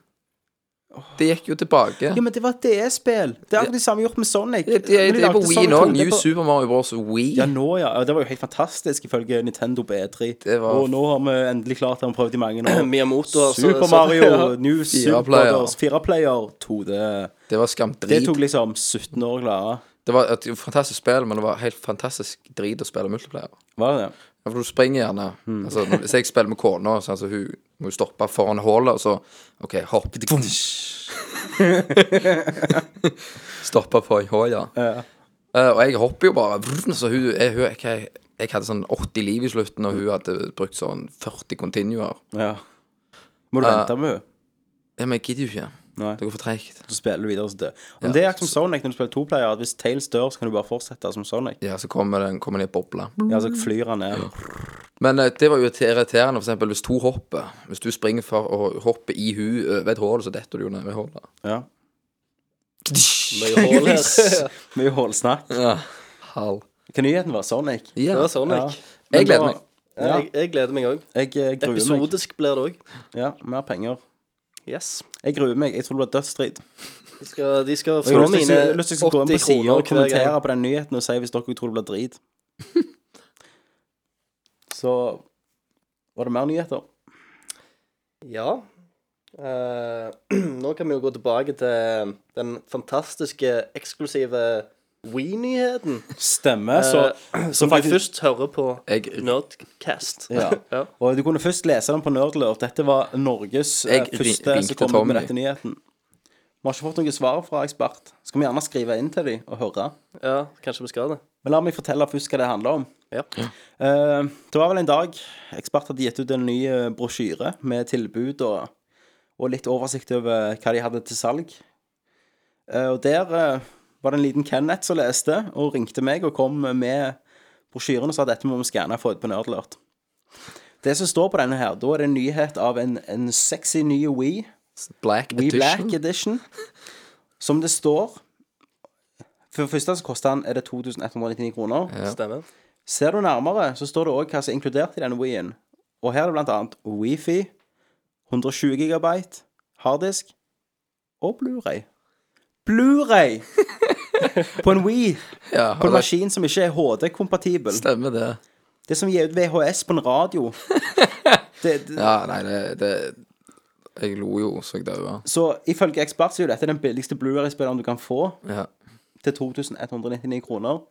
Speaker 3: Det gikk jo tilbake.
Speaker 2: Ja, men det var et DS-spill. Det er akkurat det samme gjort med Sonic.
Speaker 3: Det, det,
Speaker 2: Når de
Speaker 3: det er på
Speaker 2: lagde
Speaker 3: Wii
Speaker 2: Sonic
Speaker 3: nå.
Speaker 2: 2, det
Speaker 3: New
Speaker 2: var-
Speaker 3: Super Mario Bros.
Speaker 2: Ja,
Speaker 3: Wii.
Speaker 2: nå, ja. Og Det var jo helt fantastisk ifølge Nintendo på E3.
Speaker 3: Det var-
Speaker 2: Og nå har vi endelig klart det, vi har prøvd i mange år.
Speaker 4: Miyamoto har så-
Speaker 2: Super
Speaker 4: så-
Speaker 2: Mario, New Super
Speaker 3: player.
Speaker 2: Brothers, fire player, 2D.
Speaker 3: Det var
Speaker 2: Det
Speaker 3: skamdrit.
Speaker 2: tok liksom 17 år å klare.
Speaker 3: Det var et fantastisk spill, men det var helt fantastisk drit å spille multiplayer.
Speaker 2: Var det det?
Speaker 3: Ja, For du springer gjerne. Altså, når- hvis jeg spiller med kona, så altså, hun må hun stoppe foran hullet, og så OK, hopp. Vum. stoppe foran hullet. Ja. Eh, og jeg hopper jo bare. Vrum, så hun, jeg, hun jeg, jeg hadde sånn 80 liv i slutten, og hun hadde brukt sånn 40 continuer.
Speaker 2: Ja. Må du
Speaker 3: Eh,
Speaker 2: vente med henne?
Speaker 3: Ja, men jeg gidder jo ikke.
Speaker 2: Nei.
Speaker 3: Det går for treigt.
Speaker 2: Så spiller du videre som dør. Men det er akkurat som Sonic når du spiller toplayer. at Hvis Tails dør, så kan du bare fortsette som Sonic.
Speaker 3: Ja, så kommer den kommer den i en boble.
Speaker 2: Ja, så flyr han ned.
Speaker 3: Men eh, det var jo irriterende, for eksempel, hvis to hopper. Hvis du springer for og hopper i hun over et hull, så detter du jo ned i hullet.
Speaker 2: Ja.
Speaker 4: Mye hål her.
Speaker 2: Mye hålsnakk.
Speaker 3: Ja. Hal.
Speaker 2: Hva nyheten var? Sonic?
Speaker 4: Det
Speaker 3: Ja.
Speaker 4: var Sonic.
Speaker 2: Men
Speaker 3: Jeg gleder
Speaker 2: da-
Speaker 3: meg.
Speaker 2: Ja.
Speaker 4: Jeg, jeg gleder meg òg.
Speaker 2: Jeg eh, gruer meg.
Speaker 4: Episodisk blir det òg.
Speaker 2: Ja, mer penger.
Speaker 4: Yes.
Speaker 2: Jeg gruer meg. Jeg tror det blir dødsstrid.
Speaker 4: De skal, de skal
Speaker 2: Og Jeg
Speaker 4: få
Speaker 2: har lyst
Speaker 4: mine
Speaker 2: til- lyst til å gå inn på
Speaker 4: 80
Speaker 2: siden
Speaker 4: kroner
Speaker 2: og
Speaker 4: hver gang.
Speaker 2: kommentere på den nyheten og si hvis dere tror det blir drit. Så var det mer nyheter?
Speaker 4: Ja. Eh, nå kan vi jo gå tilbake til den fantastiske, eksklusive We-nyheten.
Speaker 2: Stemmer. Så, så
Speaker 4: Som vi
Speaker 2: Eh, faktisk
Speaker 4: først hører på
Speaker 3: Jeg-
Speaker 4: Nerdcast.
Speaker 2: Ja. Og du kunne først lese den på Nerdlurt. Dette var Norges eh,
Speaker 3: Jeg ri-
Speaker 2: første
Speaker 3: ringte
Speaker 2: som kom ut
Speaker 3: Tommy.
Speaker 2: med dette nyheten. Vi har ikke fått noe svar fra ekspert. Så kan vi gjerne skrive inn til dem og høre.
Speaker 4: ja, kanskje vi skal det.
Speaker 2: Men la meg fortelle først hva det handler om.
Speaker 4: Ja.
Speaker 2: Eh, det var vel en dag ekspert hadde gitt ut en ny eh, brosjyre med tilbud og, og litt oversikt over hva de hadde til salg. Eh, og der eh, var det en liten Kenneth som leste, og ringte meg og kom med brosjyren og sa dette må vi skanne og få ut på Nerdlert. Det som står på denne her, da er det en nyhet av en, en sexy ny We,
Speaker 3: Black
Speaker 2: We
Speaker 3: Edition.
Speaker 2: Black Edition, som det står For det første så koster den er det 2199 kroner.
Speaker 4: Stemmer.
Speaker 2: Ser du nærmere, så står det òg hva som er inkludert i denne Wii-en. Og her er det blant annet Wifi, 120 GB, harddisk og Blu-ray. Blu-ray! på en Wii,
Speaker 3: Ja, og
Speaker 2: på en
Speaker 3: det
Speaker 2: maskin som ikke er HD-kompatibel.
Speaker 3: stemmer, det.
Speaker 2: Det er som gir ut VHS på en radio. Det, det,
Speaker 3: Ja, nei, det, det Jeg lo jo så jeg daua.
Speaker 2: så ifølge ekspert så er jo dette den billigste Blu-ray-spilleren du kan få,
Speaker 3: Ja.
Speaker 2: til 2199 kroner.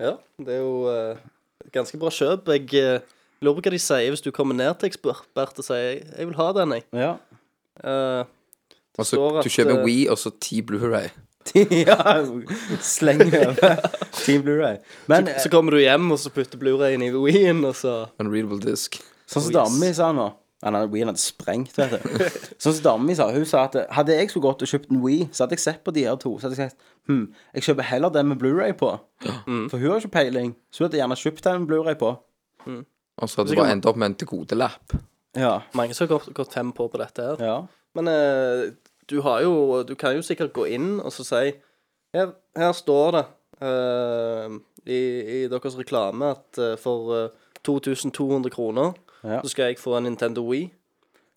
Speaker 4: Ja, det er jo eh, et ganske bra kjøp. Jeg eh, lurer på hva de sier hvis du kommer ned til ekspert og sier jeg vil ha den, jeg.
Speaker 2: Ja.
Speaker 4: Eh,
Speaker 3: Og så
Speaker 4: står at,
Speaker 3: du kjøper
Speaker 4: eh,
Speaker 3: Wii og så ti Blu-ray
Speaker 2: ja. Sleng over Team Blu-ray. Men eh,
Speaker 4: så kommer du hjem, og så putter Blu-rayen i Wien, og så
Speaker 3: Unreadable disk.
Speaker 2: Sånn som damen min sa nå Han hadde Wien hadde sprengt, vet du. Sånn som damen min sa, hun sa at hadde jeg skulle gått og kjøpt en Wii, så hadde jeg sett på de her to. Så hadde jeg sagt hm, jeg kjøper heller den med Blu-ray på. For hun har ikke peiling. Så hun hadde gjerne kjøpt den med Blu-ray på.
Speaker 3: Og så hadde du bare endt opp med en dekodelapp.
Speaker 2: Ja.
Speaker 4: Mange som har gått, gått fem på på dette her.
Speaker 2: ja.
Speaker 4: Men eh, du har jo Du kan jo sikkert gå inn og så si Her, her står det eh, i, i deres reklame at eh, for eh, 2200 kroner
Speaker 2: Ja.
Speaker 4: så skal jeg få en Nintendo Wii.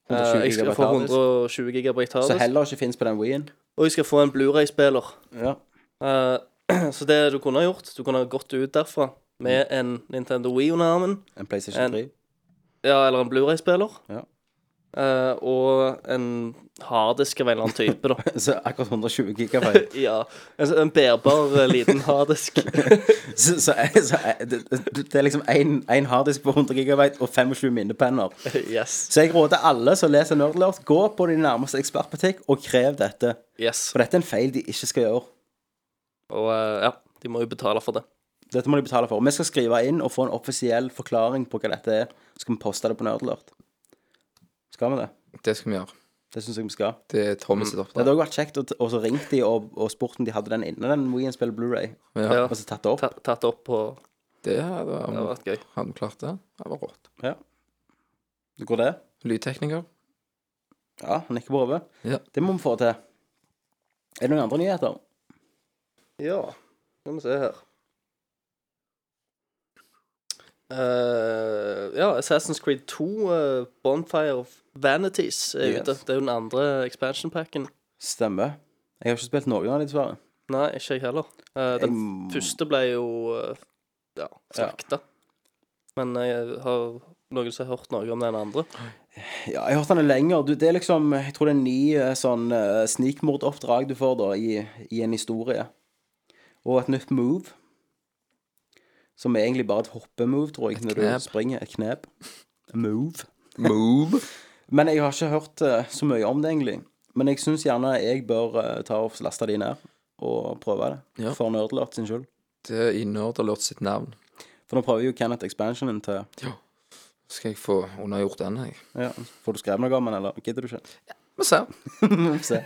Speaker 4: Eh,
Speaker 2: 120
Speaker 4: jeg skal
Speaker 2: gigabyte
Speaker 4: få
Speaker 2: harddisk.
Speaker 4: 120 GB
Speaker 2: Så
Speaker 4: harddisk.
Speaker 2: heller ikke fins på den Wien.
Speaker 4: Og jeg skal få en Blu-ray-spiller.
Speaker 2: Ja.
Speaker 4: Eh, så det du kunne ha gjort Du kunne ha gått ut derfra med en Nintendo Wii under armen,
Speaker 2: En
Speaker 4: En-
Speaker 2: PlayStation 3.
Speaker 4: ja, eller en Blu-ray-spiller,
Speaker 2: Ja.
Speaker 4: eh, og en harddisk av en eller annen type, da.
Speaker 2: Så akkurat 120 gigabyte.
Speaker 4: ja. En, en bærbar eh, liten harddisk.
Speaker 2: Så, så, så det, det er liksom én harddisk på 100 gigabyte og 25 minnepenner.
Speaker 4: yes.
Speaker 2: Så jeg råder alle som leser Nerdlert, gå på din nærmeste ekspertbutikk og krev dette.
Speaker 4: yes.
Speaker 2: For dette er en feil de ikke skal gjøre.
Speaker 4: Og eh, ja, de må jo betale for det.
Speaker 2: Dette må de betale for. Vi skal skrive inn og få en offisiell forklaring på hva dette er. Så skal vi poste det på Nerdlert. Skal vi det?
Speaker 3: Det skal vi gjøre.
Speaker 2: Det syns jeg vi skal.
Speaker 3: Det er Tommy sitt
Speaker 2: Det hadde
Speaker 3: oppdrag.
Speaker 2: også vært kjekt å t- og så ringt de og, og spurt om de hadde den inne, den Wien spiller Blu-ray
Speaker 3: Ja,
Speaker 2: og så tatt det opp.
Speaker 4: Ta, tatt opp på
Speaker 3: det hadde
Speaker 4: Det hadde vært gøy.
Speaker 3: hadde vi klart det. Det var rått.
Speaker 2: Ja. Går det?
Speaker 3: Lydtekniker.
Speaker 2: Ja, han nikker på hodet.
Speaker 3: Ja.
Speaker 2: Det må vi få til. Er det noen andre nyheter?
Speaker 4: Ja, skal vi se her. Eh, ja, Assassin's Creed 2, eh, Bonfire of Vanities, er
Speaker 2: Yes.
Speaker 4: ute. Det er jo den andre expansion-packen.
Speaker 2: Stemmer. Jeg har ikke spilt noen av de, dessverre.
Speaker 4: Nei, ikke jeg heller. Eh, den
Speaker 2: Jeg-
Speaker 4: første ble jo eh, ja, slakta. Men jeg har noen som har hørt noe om den andre.
Speaker 2: Ja, jeg har hørt den er lenger. Du, det er liksom, jeg tror det er ni eh, sånn eh, snikmordoppdrag du får da i, i en historie. Og et nytt move. Som er egentlig bare et hoppemove, tror jeg, når
Speaker 3: knep.
Speaker 2: du springer. Et knep. Move.
Speaker 3: Move.
Speaker 2: Men jeg har ikke hørt eh, så mye om det, egentlig. Men jeg syns gjerne jeg bør eh, ta og laste de ned og prøve det.
Speaker 3: Ja.
Speaker 2: For Nerdlert sin skyld.
Speaker 3: Det er i Nerdalert sitt navn.
Speaker 2: For nå prøver jo Kenneth Expansionen til
Speaker 3: Skal jeg få unnagjort den, jeg.
Speaker 2: ja, Får du skrevet noe om den, eller gidder du ikke?
Speaker 3: Vi ser.
Speaker 2: Vi får se.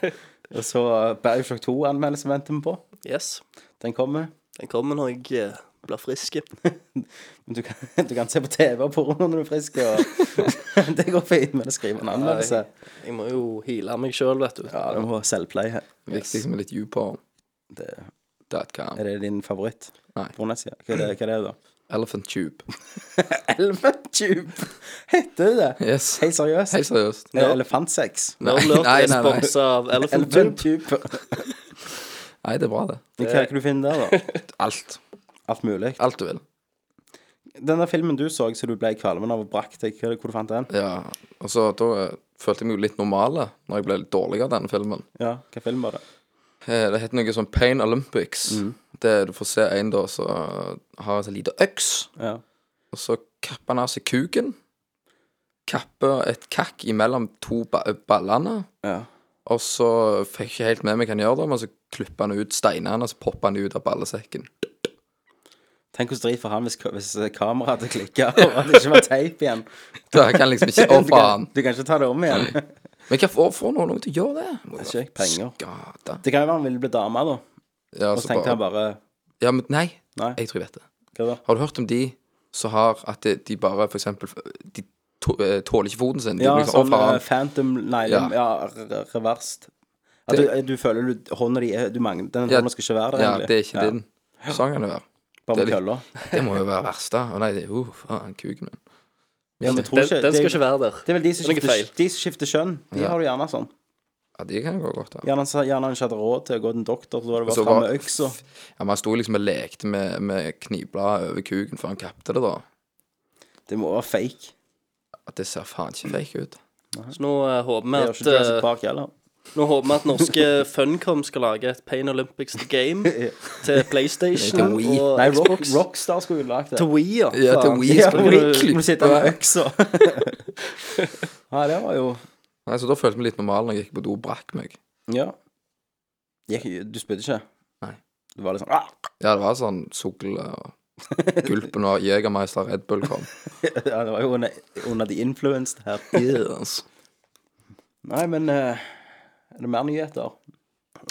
Speaker 2: Og så eh, Bioshock 2-anmeldelsen venter vi på.
Speaker 4: Yes.
Speaker 2: Den kommer.
Speaker 4: Den kommer når jeg eh, blir frisk.
Speaker 2: Men du kan, du kan se på TV og porno når du er frisk. Og det går fint, men det skriver en anmeldelse.
Speaker 4: Jeg må jo heale meg sjøl, vet du.
Speaker 2: Ja, du må ha selvpleie her.
Speaker 3: Viktig med litt YouPorn.com.
Speaker 2: Det, er det din favoritt?
Speaker 3: Nei.
Speaker 2: Pornosida? Hva er det, hva er det da?
Speaker 3: Elephant Tube.
Speaker 2: Elephant tube! Heter det det?
Speaker 3: Yes.
Speaker 2: Helt seriøst?
Speaker 3: Helt seriøst.
Speaker 2: Er det elefantsex?
Speaker 3: Nei,
Speaker 4: Nerdlurt
Speaker 3: nei,
Speaker 4: er
Speaker 3: nei, nei.
Speaker 4: sponsa av Elephant
Speaker 2: Elephant
Speaker 4: Tube.
Speaker 2: tube.
Speaker 3: Nei, det er bra, det.
Speaker 2: Hva er det du finner der, da?
Speaker 3: Alt.
Speaker 2: Alt mulig.
Speaker 3: Alt du vil.
Speaker 2: Den der filmen du så så du ble kvalmen av og brakk deg, hva er det- hvor du fant den?
Speaker 3: Ja. Og så da eh, følte jeg meg jo litt normal når jeg ble litt dårlig av denne filmen.
Speaker 2: Ja, hva film var det?
Speaker 3: Eh, Det heter noe sånn Pain Olympics. Det Du får se en da som har en sånn liten øks,
Speaker 2: Ja.
Speaker 3: og så kapper han av seg kuken. Kapper et kakk imellom to ba ballene.
Speaker 2: Ja.
Speaker 3: Og så fikk jeg ikke helt med meg hva han gjør, da, men så klipper han ut steinene, og så popper han ut av ballesekken.
Speaker 2: Tenk hvordan drit for han hvis, hvis kameraet hadde klikka, og at det ikke var teip igjen.
Speaker 3: Da kan han liksom ikke Å,
Speaker 2: Du kan,
Speaker 3: faen.
Speaker 2: du kan ikke ta det om igjen.
Speaker 3: Men hvorfor får noen noen til å gjøre det? Må
Speaker 2: Det er ikke penger.
Speaker 3: Skade.
Speaker 2: Det kan jo være han ville bli dame, da.
Speaker 3: Ja,
Speaker 2: Og
Speaker 3: så
Speaker 2: så tenkte
Speaker 3: Altså, bare,
Speaker 2: han bare
Speaker 3: ja, men nei,
Speaker 2: Nei.
Speaker 3: jeg tror jeg vet det.
Speaker 2: Hva da?
Speaker 3: Har du hørt om de som har at de, de bare for eksempel De tå- eh, tåler ikke foten sin. De
Speaker 2: Ja,
Speaker 3: blir liksom, «Å,
Speaker 2: sånn
Speaker 3: faen».
Speaker 2: eh, Phantom Nei,
Speaker 3: Ja.
Speaker 2: ja, re- reverst. At du, eh,
Speaker 3: Det-
Speaker 2: du føler du hånda di er- Du mangler Den
Speaker 3: Ja,
Speaker 2: hånda skal ikke være der,
Speaker 3: Ja,
Speaker 2: egentlig.
Speaker 3: det er ikke din. Sånn kan det være.
Speaker 2: Bare
Speaker 3: det
Speaker 2: med
Speaker 3: er
Speaker 2: kølla.
Speaker 3: Det må jo være verst, da. Å nei, det, uh, faen, kuken min.
Speaker 2: Ja, men jeg tror
Speaker 4: Den,
Speaker 2: ikke-
Speaker 4: den skal
Speaker 2: det-
Speaker 4: ikke være der.
Speaker 2: Det er vel de som
Speaker 4: Det er noe
Speaker 2: skifter,
Speaker 4: feil.
Speaker 2: de som skifter kjønn. De
Speaker 3: Ja.
Speaker 2: har du gjerne sånn.
Speaker 3: Ja, de kan gå godt, da.
Speaker 2: Gjerne, gjerne han ikke hadde råd til å gå til en doktor, så da var det
Speaker 3: Så
Speaker 2: bare
Speaker 3: var-
Speaker 2: fram med øksa.
Speaker 3: Ja, Man sto liksom og lekte med, med knivbladet over kuken før han kapte det, da.
Speaker 2: Det må være fake.
Speaker 3: At det ser faen ikke fake ut.
Speaker 4: Så nå eh, håper vi
Speaker 2: Det
Speaker 4: at
Speaker 2: altså, gjør ikke Jurassic
Speaker 4: eh,
Speaker 2: Park heller.
Speaker 4: Nå håper vi at norske Funcom skal lage et Pain Olympics The Game til PlayStation
Speaker 3: Til Wii.
Speaker 4: og
Speaker 2: Nei, Rock,
Speaker 4: Xbox.
Speaker 2: Rockstar skulle jo lagd det.
Speaker 4: Til Wii, ja.
Speaker 3: Ja, til
Speaker 4: faen.
Speaker 3: Wii
Speaker 2: Ja,
Speaker 3: skal
Speaker 2: Wii.
Speaker 3: du
Speaker 2: Må
Speaker 3: klippe.
Speaker 2: sitte med øksa. Nei, det var jo
Speaker 3: Nei, Så da følte jeg meg litt normal når jeg gikk på do og brakk meg.
Speaker 2: Ja. Gikk, du spydde ikke?
Speaker 3: Nei.
Speaker 2: Du var litt sånn ah!
Speaker 3: Ja, det var sånn sugl og gulpen og Jegermeister Red Bull kom.
Speaker 2: Ja, det var jo under, under the influence her.
Speaker 3: Yes. altså.
Speaker 2: Nei, men eh, er det mer nyheter?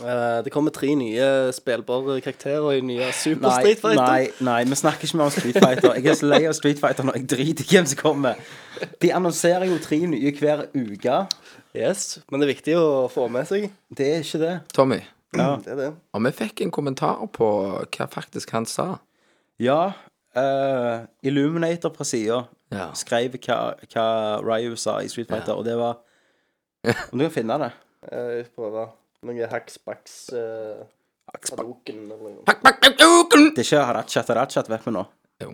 Speaker 4: Eh, Det kommer tre nye spillbare karakterer i nye Super
Speaker 2: Nei,
Speaker 4: Street Fighter.
Speaker 2: nei, nei, vi snakker ikke mer om Street Fighter. Jeg er så lei av Street Fighter når jeg driter i hvem som kommer. De annonserer jo tre nye hver uke.
Speaker 4: Yes, men det er viktig å få med seg.
Speaker 2: Det er ikke det.
Speaker 3: Tommy,
Speaker 4: Det er det.
Speaker 3: og vi fikk en kommentar på hva faktisk han sa.
Speaker 2: Ja, eh, Illuminator på sida
Speaker 3: Ja.
Speaker 2: skrev hva, hva Ryu sa i Street Fighter, og det var Om du kan finne det?
Speaker 4: Jeg prøver noe hacks, backs, eh, hadoken eller noe.
Speaker 2: Det er ikke Harachat Harachat, vet vi nå.
Speaker 3: Jo.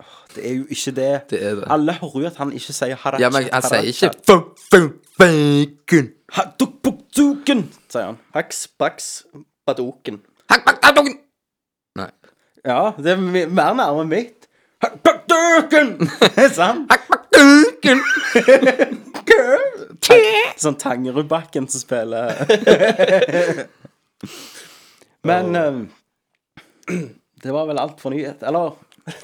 Speaker 2: Åh, Det er jo ikke det.
Speaker 3: Det er det.
Speaker 2: Alle hører jo at han ikke sier Harachat
Speaker 3: Ja, men han sier ikke
Speaker 2: Harachat.
Speaker 3: fun, fun, bacon.
Speaker 2: Hadukbukduken, sier han.
Speaker 4: Hacks, backs, badoken.
Speaker 3: Hack, hack, hack, hack. Nei.
Speaker 2: Ja, det er mi- mer nærme mitt. Hadukbukduken! Sant?
Speaker 3: Hack, hack, bacon.
Speaker 2: Sånn Tangerudbakken som spiller Men eh, det var vel alt for nyhet. Eller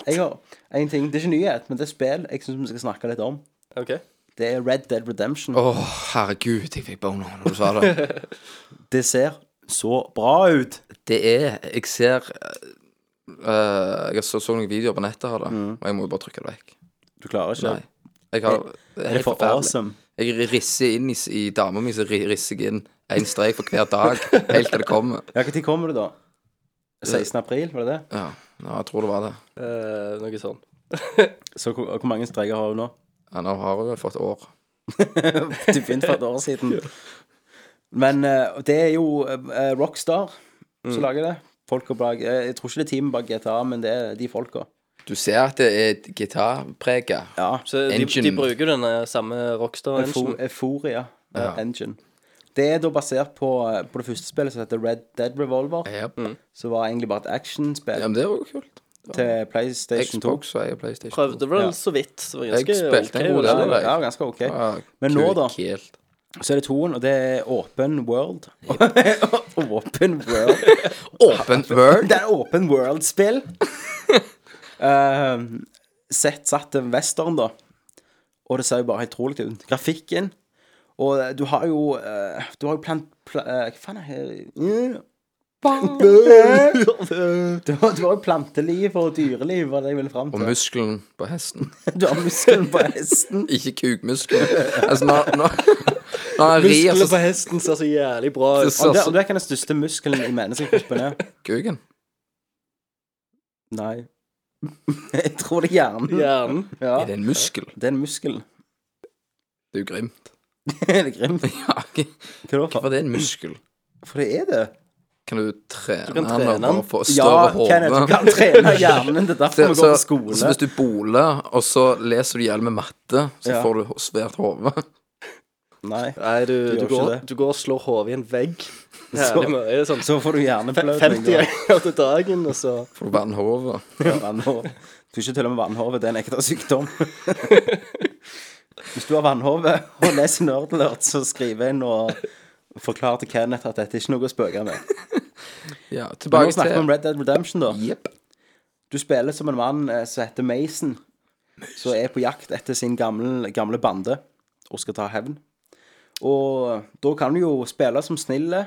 Speaker 2: jeg har en ting. Det er ikke nyhet, men det er spill jeg syns vi skal snakke litt om.
Speaker 4: OK.
Speaker 2: Det er Red Dead Redemption.
Speaker 3: Åh, herregud, jeg fikk boner når du sa det.
Speaker 2: Det ser så bra ut.
Speaker 3: Det er Jeg ser eh, Jeg så, så noen videoer på nettet av det, og jeg må jo bare trykke det vekk.
Speaker 2: Du klarer ikke.
Speaker 3: Nei. Jeg har Det
Speaker 2: Mm. Er det for
Speaker 3: forferdelig.
Speaker 2: awesome?
Speaker 3: Jeg risser inn i, s- i dama mi, så ri- risser jeg inn én strek for hver dag, helt til det kommer.
Speaker 2: Ja, Når kommer det, da? 16. april, var det det?
Speaker 3: Ja, ja jeg tror det var det.
Speaker 4: Eh, noe sånn.
Speaker 2: Så hvor, hvor mange streker har hun nå?
Speaker 3: Ja, nå har hun vel fått år.
Speaker 2: Du begynte for et år siden. Men eh, det er jo eh, Rockstar som lager det. Folka bak eh, Jeg tror ikke det er teamet bak GTA, men det er de folka.
Speaker 3: Du ser at det er gitarpreget.
Speaker 2: Ja.
Speaker 4: Så de, de
Speaker 3: Engine.
Speaker 4: bruker jo denne samme Rockstar-engine.
Speaker 2: Euforia eh,
Speaker 3: Ja.
Speaker 2: Engine. Det er da basert på, eh, på det første spillet som heter Red Dead Revolver,
Speaker 3: Ja,
Speaker 2: som var egentlig bare et actionspill
Speaker 3: men det er jo kult.
Speaker 2: til PlayStation 2.
Speaker 3: Xbox og jeg og PlayStation.
Speaker 4: Prøvde vel
Speaker 2: Ja.
Speaker 4: så vidt. Det var
Speaker 3: Jeg
Speaker 4: ganske
Speaker 3: spilte en
Speaker 4: ok,
Speaker 3: god
Speaker 4: vel?
Speaker 2: Ja,
Speaker 3: del av
Speaker 2: det
Speaker 3: det.
Speaker 2: var ganske OK.
Speaker 3: Ja,
Speaker 2: Men nå,
Speaker 3: kult,
Speaker 2: da?
Speaker 3: Helt.
Speaker 2: Så er det toen, og det er Open World. Open World.
Speaker 3: Åpen Word.
Speaker 2: Det er Open World-spill. Eh, sett satt til western, da. Og det ser jo bare helt utrolig ut. Grafikken. Og eh, du har jo eh, Du har jo plant... Pla, eh, hva faen er det? Du har, du har jo planteliv og dyreliv, var det jeg ville fram
Speaker 3: Og
Speaker 2: til.
Speaker 3: muskelen på hesten.
Speaker 2: Du har muskelen på hesten.
Speaker 3: Ikke kukmuskelen. Altså, når, når, når han rir,
Speaker 4: Musklene på
Speaker 3: så
Speaker 4: hesten ser så jævlig bra
Speaker 3: så-
Speaker 4: ut.
Speaker 3: så-
Speaker 2: Og det,
Speaker 3: så-
Speaker 2: og det er ikke den største muskelen i menneskekroppen. er.
Speaker 3: Kuken.
Speaker 2: Nei. Jeg tror det er hjernen.
Speaker 4: Hjernen.
Speaker 2: Ja.
Speaker 3: Er det en muskel?
Speaker 2: Det er en muskel.
Speaker 3: Det er jo grimt.
Speaker 2: det er grimt.
Speaker 3: Ja, ok.
Speaker 2: Hva da
Speaker 3: Hvorfor
Speaker 2: for?
Speaker 3: er det en muskel?
Speaker 2: For det er det.
Speaker 3: Kan du trene
Speaker 4: kan
Speaker 3: den og
Speaker 4: trene
Speaker 3: bare
Speaker 4: den.
Speaker 3: få
Speaker 2: Ja,
Speaker 3: større
Speaker 2: Kenneth, du
Speaker 3: hode?
Speaker 2: kan trene hjernen. Det er derfor vi går på skole.
Speaker 3: så hvis du boler, og så leser du i hjel med matte, så
Speaker 2: Ja.
Speaker 3: får du svært hode.
Speaker 2: Nei.
Speaker 4: Nei, du,
Speaker 2: gjør
Speaker 4: du,
Speaker 2: ikke
Speaker 4: går,
Speaker 2: det.
Speaker 4: du går og slår hodet i en vegg. Jævlig mye. Det er sånn
Speaker 2: Så får du hjerneblødning.
Speaker 4: 50 ganger til dagen, og så
Speaker 3: Får du vannhode.
Speaker 2: vannhår. Du er ikke til og med vannhove, det er en ekte sykdom. Hvis du har vannhove og leser Nerdlert, så skriv inn og forklar til Kenneth at dette er ikke noe å spøke med.
Speaker 3: Ja,
Speaker 2: Men
Speaker 3: tilbake
Speaker 2: nå snakker vi om
Speaker 3: til
Speaker 2: Red Dead Redemption, da.
Speaker 3: Jepp.
Speaker 2: Du spiller som en mann eh, som heter Mason, som er på jakt etter sin gamle, gamle bande og skal ta hevn. Og eh, da kan du jo spille som snille,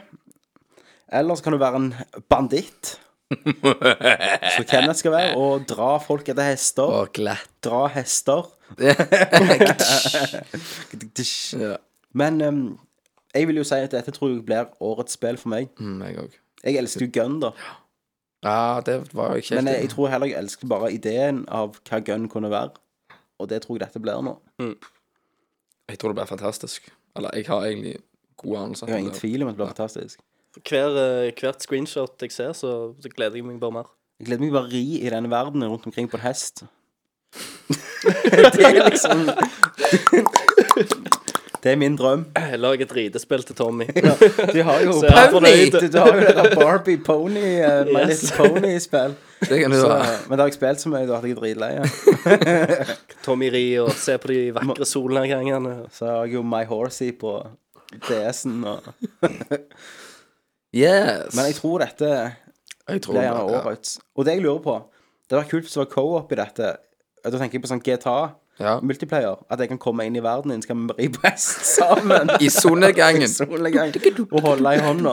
Speaker 2: eller så kan du være en banditt. Som Kenneth skal være, og dra folk etter hester.
Speaker 3: Og glatt.
Speaker 2: Dra hester.
Speaker 3: Ja.
Speaker 2: Men em, jeg vil jo si at dette tror jeg blir årets spill for meg.
Speaker 3: Mm, jeg òg.
Speaker 2: Jeg elsker jo gun, da.
Speaker 3: Ja, det var jo ikke helt
Speaker 2: Men jeg,
Speaker 3: enig.
Speaker 2: jeg tror heller jeg elsker bare ideen av hva gun kunne være. Og det tror jeg dette blir nå.
Speaker 3: Jeg tror det ble fantastisk. Eller jeg har egentlig gode anelser.
Speaker 2: Jeg har ingen tvil om at det blir fantastisk.
Speaker 4: hver, eh, hvert screenshot jeg ser, så, så gleder jeg meg bare mer.
Speaker 2: Jeg gleder meg bare å ri i denne verden rundt omkring på en hest. det er liksom Det er min drøm.
Speaker 4: Lag et ridespill til Tommy.
Speaker 2: Du har jo
Speaker 4: Så jeg er
Speaker 3: fornøyd.
Speaker 2: Du, du har jo det der Barbie Pony, eh, My
Speaker 4: Yes.
Speaker 2: Little Pony-spill.
Speaker 3: Det kan du
Speaker 2: Så, eh,
Speaker 3: være.
Speaker 2: Men det har jeg spilt så mye da at jeg er dritlei. ja.
Speaker 4: Tommy ri og se på de vakre solnedgangene.
Speaker 2: Så har jeg jo My Horsey på DS-en og
Speaker 3: Yes.
Speaker 2: Men jeg tror dette
Speaker 3: Jeg tror
Speaker 2: blir
Speaker 3: det,
Speaker 2: gjerne
Speaker 3: ja.
Speaker 2: årets. Og det jeg lurer på Det hadde vært kult hvis det var co-op i dette. Da tenker jeg på sånn GTA.
Speaker 3: Ja.
Speaker 2: multiplayer. At jeg kan komme inn i verden din, så kan vi ri på hest sammen.
Speaker 3: I solnedgangen.
Speaker 2: Solegang. Og holde i hånda.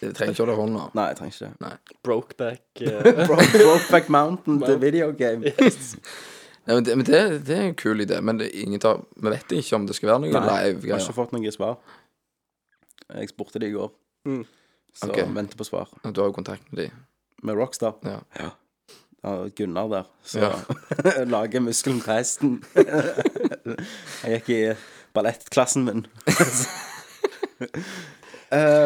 Speaker 3: Du trenger ikke holde hånda.
Speaker 2: Nei, jeg trenger ikke det.
Speaker 4: Brokeback. eh,
Speaker 2: Bro- Brokeback Mountain, the video game.
Speaker 3: Nei, men det, men det, det er en kul idé, men det, er ingen tar, vi vet ikke om det skal være noe
Speaker 2: jeg har ikke
Speaker 3: live-greier.
Speaker 2: fått noe svar. Jeg spurte det i går.
Speaker 4: Mm.
Speaker 2: Så
Speaker 3: Ok.
Speaker 2: venter på svar.
Speaker 3: Du har jo kontakt med de.
Speaker 2: Med Rockstar.
Speaker 3: Ja.
Speaker 2: Ja, Gunnar der. Så
Speaker 3: Ja.
Speaker 2: lager muskelen på hesten. jeg gikk i ballettklassen min.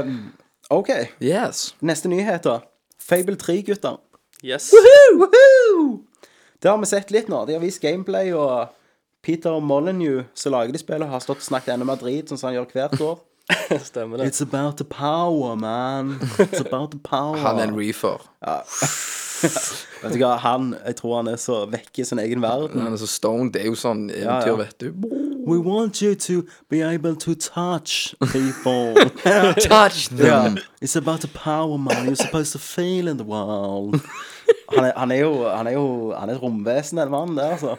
Speaker 2: um, OK.
Speaker 3: Yes.
Speaker 2: Neste nyhet, da. Fable 3, gutter.
Speaker 4: Yes.
Speaker 2: Woohoo! Det har vi sett litt nå. De har vist gameplay, og Peter Molyneux, som lager de spillet, har stått og snakket enda mer drit, sånn som han gjør hvert år.
Speaker 4: Stemmer det.
Speaker 2: It's about the power, man. It's about the power.
Speaker 3: Han er en reefer.
Speaker 2: Vet du hva, han, jeg tror han er så vekk i sin egen verden.
Speaker 3: Han er så stoned. Det er jo sånn eventyr, vet du.
Speaker 2: We want you to be able to touch people.
Speaker 3: Touch
Speaker 2: yeah.
Speaker 3: them!
Speaker 2: It's about the power, man. You're supposed to feel in the world. Han er, han er jo, han er jo, han er et romvesen, den mannen der, altså.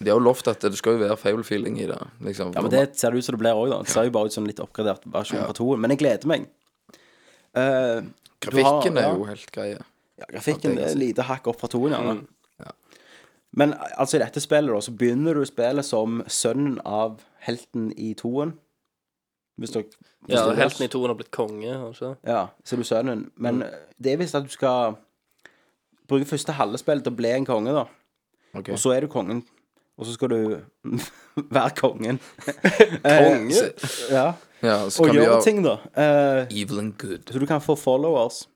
Speaker 3: De har jo lovt at det skal jo være fable feeling i det. Liksom.
Speaker 2: Ja, men det ser det ut som det blir òg, da. Det ser jo bare ut som en litt oppgradert versjon fra toen. Men jeg gleder meg. Eh, du har-
Speaker 3: Grafikken er
Speaker 2: ja.
Speaker 3: jo helt greie.
Speaker 2: Ja, grafikken
Speaker 3: det er
Speaker 2: det
Speaker 3: Mm.
Speaker 2: er et lite hakk opp fra toen, gjerne.
Speaker 3: Ja.
Speaker 2: Men altså, i dette spillet, da, så begynner du spillet som sønnen av helten i toen. Hvis dere
Speaker 4: Ja,
Speaker 2: forstår det.
Speaker 4: Helten i toen har blitt konge. har han Ikke? det?
Speaker 2: Ja, så er du sønnen.
Speaker 3: Mm.
Speaker 2: Men det er visst at du skal bruke første halve spillet til å bli en konge, da.
Speaker 3: Ok.
Speaker 2: Og så er du kongen. Og så skal du være kongen.
Speaker 3: Konge?
Speaker 2: ja.
Speaker 3: Ja, så
Speaker 2: Eh, Og
Speaker 3: kan de
Speaker 2: gjøre
Speaker 3: gjøre
Speaker 2: ting, da. Eh,
Speaker 3: evil and good.
Speaker 2: så du kan få followers.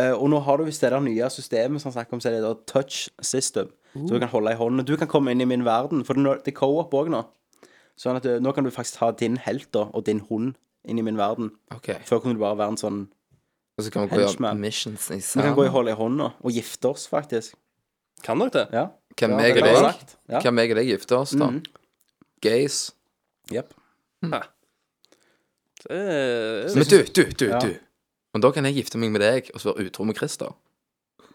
Speaker 2: Eh, og nå har du visst det der nye systemet som han snakker om, så er det da touch system. Så du kan holde i hånden. Du kan komme inn i min verden, for det er nå- det er co-op òg nå. Sånn at eh, nå kan du faktisk ha din helt da, og din hund inn i min verden.
Speaker 3: Ok,
Speaker 2: Før kunne du bare være en sånn
Speaker 3: Og så kan vi gå og gjøre
Speaker 2: Henchman.
Speaker 3: missions i
Speaker 2: Vi kan gå i
Speaker 3: sammen.
Speaker 2: holde i hånda og gifte oss, faktisk.
Speaker 4: Kan nok det.
Speaker 2: Ja.
Speaker 3: Kan
Speaker 2: Ja,
Speaker 3: meg
Speaker 2: det
Speaker 3: og
Speaker 2: er
Speaker 3: deg
Speaker 2: bra sagt. Ja.
Speaker 3: Kan meg og deg gifte oss, da?
Speaker 2: Mhm.
Speaker 3: Gays.
Speaker 2: Jep.
Speaker 4: Det er-
Speaker 3: Men du, du, du,
Speaker 2: Ja.
Speaker 3: du. Men da kan jeg gifte meg med deg og så være utro med Christer.